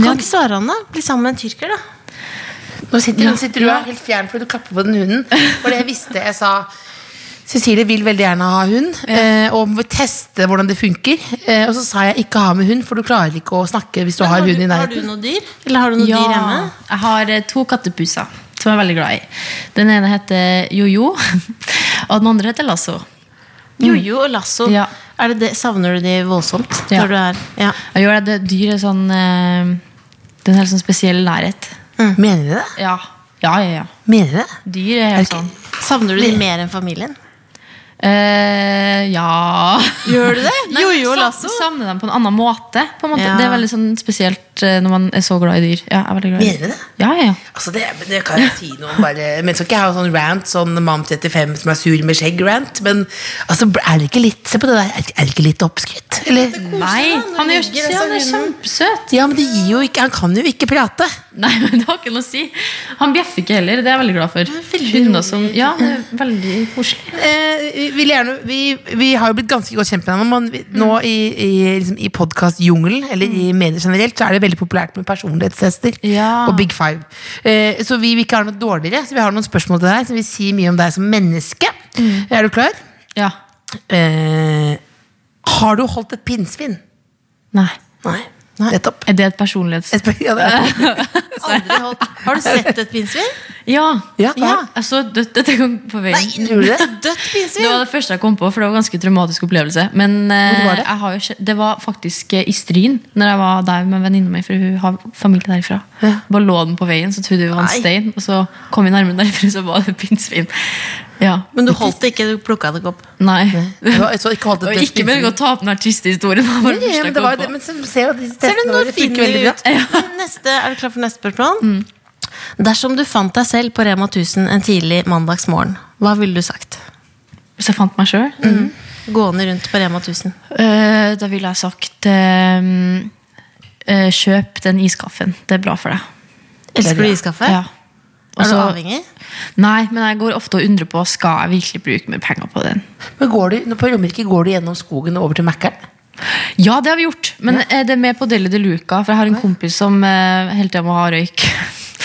Speaker 4: Kan
Speaker 3: Ja.
Speaker 4: ikke svare han, da? Bli sammen med en tyrker, da.
Speaker 2: Nå sitter, nå sitter du her helt fjern fordi du klapper på den hunden. For det jeg visste jeg sa Cecilie vil veldig gjerne ha hund, eh, og må teste hvordan det funker. Eh, og så sa jeg ikke ha med hund, for du klarer ikke å snakke hvis du har hund i
Speaker 4: har du
Speaker 2: nærheten.
Speaker 4: noe dyr? Eller har du noe dyr hjemme?
Speaker 3: Jeg har eh, to kattepuser som jeg er veldig glad i. Den ene heter Jojo. Og den andre heter Lasso.
Speaker 7: Jojo og lasso.
Speaker 3: Ja.
Speaker 7: Er det det, savner du de voldsomt?
Speaker 3: Ja.
Speaker 7: Når du er, ja.
Speaker 3: Jeg gjør det, det dyret sånn eh, Det er en helt sånn spesiell nærhet.
Speaker 4: Mm.
Speaker 2: Mener de det?
Speaker 3: Ja, ja, ja. ja.
Speaker 2: Mener de det?
Speaker 3: Dyr er helt sånn.
Speaker 7: Savner du de mer enn familien?
Speaker 3: Eh, ja
Speaker 7: Gjør du det?
Speaker 3: Nei,
Speaker 7: Jojo og
Speaker 3: sa-
Speaker 7: lasso?
Speaker 3: Savner dem på en annen måte. På en måte.
Speaker 7: Ja.
Speaker 3: Det er veldig sånn spesielt eh, når man er så glad i dyr. Ja, jeg er veldig glad i
Speaker 2: Mener du det?
Speaker 3: Ja, ja, ja.
Speaker 2: Altså det, det kan jeg si noe om bare Men så ikke jeg ha sånn rant, sånn mam 35 som er sur med skjegg-rant. Men altså, er det ikke litt Se på det der, er det ikke litt oppskrytt? Eller?
Speaker 3: Nei, han er, jo- se, han er kjempesøt.
Speaker 2: Ja, men det gir jo ikke Han kan jo ikke prate.
Speaker 3: Nei, men det har ikke noe å si. Han bjeffer ikke heller. Det er jeg veldig glad for. Hunder som Ja, det er veldig koselig.
Speaker 2: Eh, vi, vil gjerne, vi, vi har jo blitt ganske godt kjent med hverandre, men vi- nå i, i, liksom, i podkastjungelen, eller i medier generelt, så er det veldig populært med personlighetstester
Speaker 3: Ja.
Speaker 2: og Big Five. Eh, så vi vil ikke ha noe dårligere, så vi har noen spørsmål til deg som vil si mye om deg som menneske. Er du klar?
Speaker 3: Ja.
Speaker 2: Eh, har du holdt et pinnsvin?
Speaker 3: Nei.
Speaker 2: Nei. Nettopp.
Speaker 3: Er det et personlighets...
Speaker 2: Et sp- Ja, det er-
Speaker 7: Aldri holdt. Har du sett et pinnsvin?
Speaker 3: Ja.
Speaker 2: Ja.
Speaker 3: Jeg så dødt dette gang på veien.
Speaker 2: Tror du det?
Speaker 7: Dødt
Speaker 3: Det
Speaker 7: pinnsvin?
Speaker 3: var det første jeg kom på, for det var en ganske traumatisk opplevelse. Men eh,
Speaker 2: var det?
Speaker 3: Jeg har jo ikke, det var faktisk eh, i Stryn, når jeg var der med venninna mi. For hun har familie derifra. Bare lå den på veien, så trodde vi det var en stein. Og så kom vi nærmere derifra, så var det pinnsvin. Ja.
Speaker 7: Men du holdt det ikke, du plukka det ikke opp.
Speaker 3: Nei.
Speaker 2: Det var- så ikke holdt et
Speaker 3: Og
Speaker 2: dødt
Speaker 3: ikke med å
Speaker 2: pinnsvin.
Speaker 3: ta opp den her triste historien. Det var bare det
Speaker 2: Ja,
Speaker 3: første
Speaker 2: men
Speaker 3: jeg
Speaker 2: det
Speaker 3: kom
Speaker 2: var jo
Speaker 3: på.
Speaker 2: det, men så ser jo at disse
Speaker 7: Ser du,
Speaker 2: testene
Speaker 7: nå
Speaker 2: våre funker
Speaker 7: finner
Speaker 2: veldig
Speaker 7: du
Speaker 2: bra. Mm.
Speaker 7: ut. Neste, er du klar for neste spørsmål? Dersom du fant deg selv på Rema 1000 en tidlig mandagsmorgen, hva ville du sagt?
Speaker 3: Hvis jeg fant meg sjøl,
Speaker 7: Gående rundt på Rema 1000.
Speaker 3: da ville jeg sagt eh, eh, Kjøp den iskaffen. Det er bra for deg.
Speaker 7: Elsker du iskaffe?
Speaker 3: Ja. Og
Speaker 7: Er du
Speaker 2: Altså,
Speaker 3: så-
Speaker 7: avhengig?
Speaker 3: Nei, men jeg går ofte og undrer på Skal jeg virkelig bruke mer penger på den.
Speaker 2: Men går du, nå på Romerike går du gjennom skogen og over til Mækkern?
Speaker 3: Ja, det har vi gjort, men eh, det er med på Deli de Luca. For jeg har en kompis som eh, hele tida må ha røyk.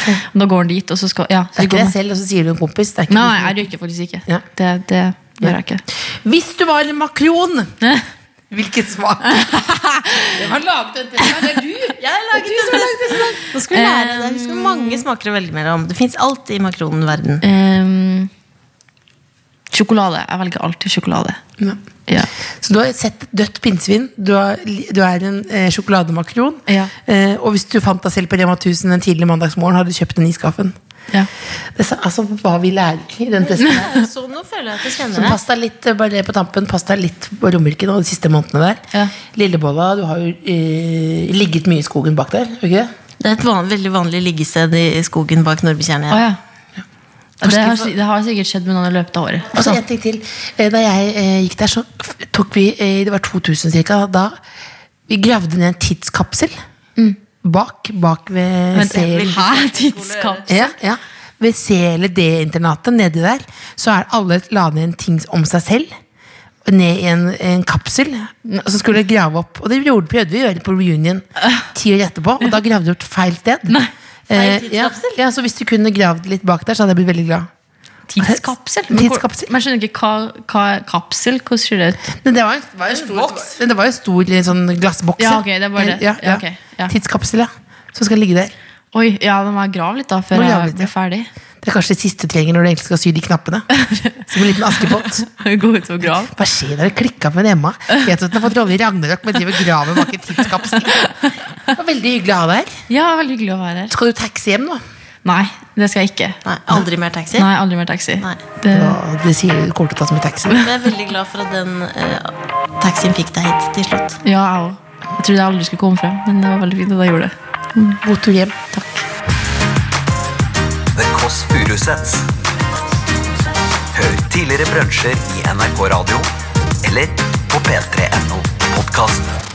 Speaker 3: Og da går han dit, og så skal ja, så
Speaker 2: Det er
Speaker 3: går
Speaker 2: ikke deg
Speaker 3: man-
Speaker 2: selv, og så sier du en kompis. Det er ikke
Speaker 3: Nei,
Speaker 2: du som-
Speaker 3: nei, jeg røyker faktisk ikke.
Speaker 2: Ja.
Speaker 3: Det, det gjør jeg ikke.
Speaker 2: Hvis du var en makron, hvilket smak? Det var laget en test, det er du.
Speaker 7: sånn. Nå skal vi lære deg. Husk hvor mange smaker å velge mellom. Det fins alt i makronverden.
Speaker 3: Ehm, sjokolade. Jeg velger alltid sjokolade. Ja.
Speaker 2: Så du har sett et dødt pinnsvin, du, har, du er en eh, sjokolademakron.
Speaker 3: Ja.
Speaker 2: Eh, og hvis du fant deg selv på Rema 1000 en tidlig mandagsmorgen, hadde du kjøpt den iskaffen.
Speaker 3: Ja.
Speaker 2: Det er så- altså hva vi lærer i den testen. her.
Speaker 7: Så nå føler jeg at jeg
Speaker 2: Så
Speaker 7: kjenner deg.
Speaker 2: pass deg litt eh, bare på tampen, pass deg litt på Romerike nå de siste månedene der.
Speaker 3: Ja.
Speaker 2: Lillebolla, du har jo eh, ligget mye i skogen bak der, har du ikke det?
Speaker 7: Det er et van, veldig vanlig liggested i skogen bak Norbytjernet.
Speaker 3: Å, ja. Det, har, si- det har sikkert skjedd med noen i løpet av året. Altså,
Speaker 2: Og så Altså, en ting til. Eh, Da jeg eh, gikk der, så f- tok vi eh, Det var 2000 cirka. Da vi gravde ned en tidskapsel. Bak, bak ved
Speaker 3: Mm. Vent,
Speaker 2: C-
Speaker 3: Hæ? Tidskap?
Speaker 2: ja, ja. Ved CLD-internatet nedi der, så er alle la ned en ting om seg selv. Ned i en, en kapsel. Og så skulle de grave opp. Og det gjorde, prøvde vi å gjøre på reunion ti år etterpå. Og da gravde vi opp feil sted. Eh, ja, ja, så hvis du kunne gravd litt bak der, så hadde jeg blitt veldig glad.
Speaker 3: Tidskapsel? Men hvor-
Speaker 2: Tidskapsel.
Speaker 3: Men jeg skjønner ikke hva, hva er kapsel? Hvordan ser det ut?
Speaker 2: Men det var, det var en stor, Men det var jo en stor eh, sånn glassboks.
Speaker 3: Ja, ok, det var det.
Speaker 2: Ja, ja.
Speaker 3: Ja, ok, ja.
Speaker 2: Tidskapsel, ja. Som skal ligge der.
Speaker 3: Oi, ja, da må jeg grave litt da før
Speaker 2: Må grave
Speaker 3: jeg
Speaker 2: litt,
Speaker 3: blir ferdig.
Speaker 2: Det er kanskje det siste du trenger når du egentlig skal sy de knappene. Som en liten askepott.
Speaker 3: Gå ut og grave.
Speaker 2: Hva skjer når det klikka med Emma? Vet du at den har fått rolle i Ragnarok, men driver og graver bak en tidskapsel? Det var veldig hyggelig å ha deg her.
Speaker 3: Ja, veldig hyggelig å være her.
Speaker 2: Skal du taxi hjem nå?
Speaker 3: Nei, det skal jeg ikke.
Speaker 7: Nei, aldri mer taxi.
Speaker 3: Nei, aldri mer taxi.
Speaker 7: Nei.
Speaker 3: Det,
Speaker 2: Og det sier du kommer til å ta som en taxi.
Speaker 7: Men jeg er veldig glad for at den eh, taxien fikk deg hit til slutt.
Speaker 3: ja, jeg òg. Jeg trodde jeg aldri skulle komme frem, men det var veldig fint at jeg gjorde det.
Speaker 2: God tur hjem. Takk.
Speaker 1: The Kåss Furuseths. Hør tidligere brunsjer i NRK Radio eller på p3.no podkast.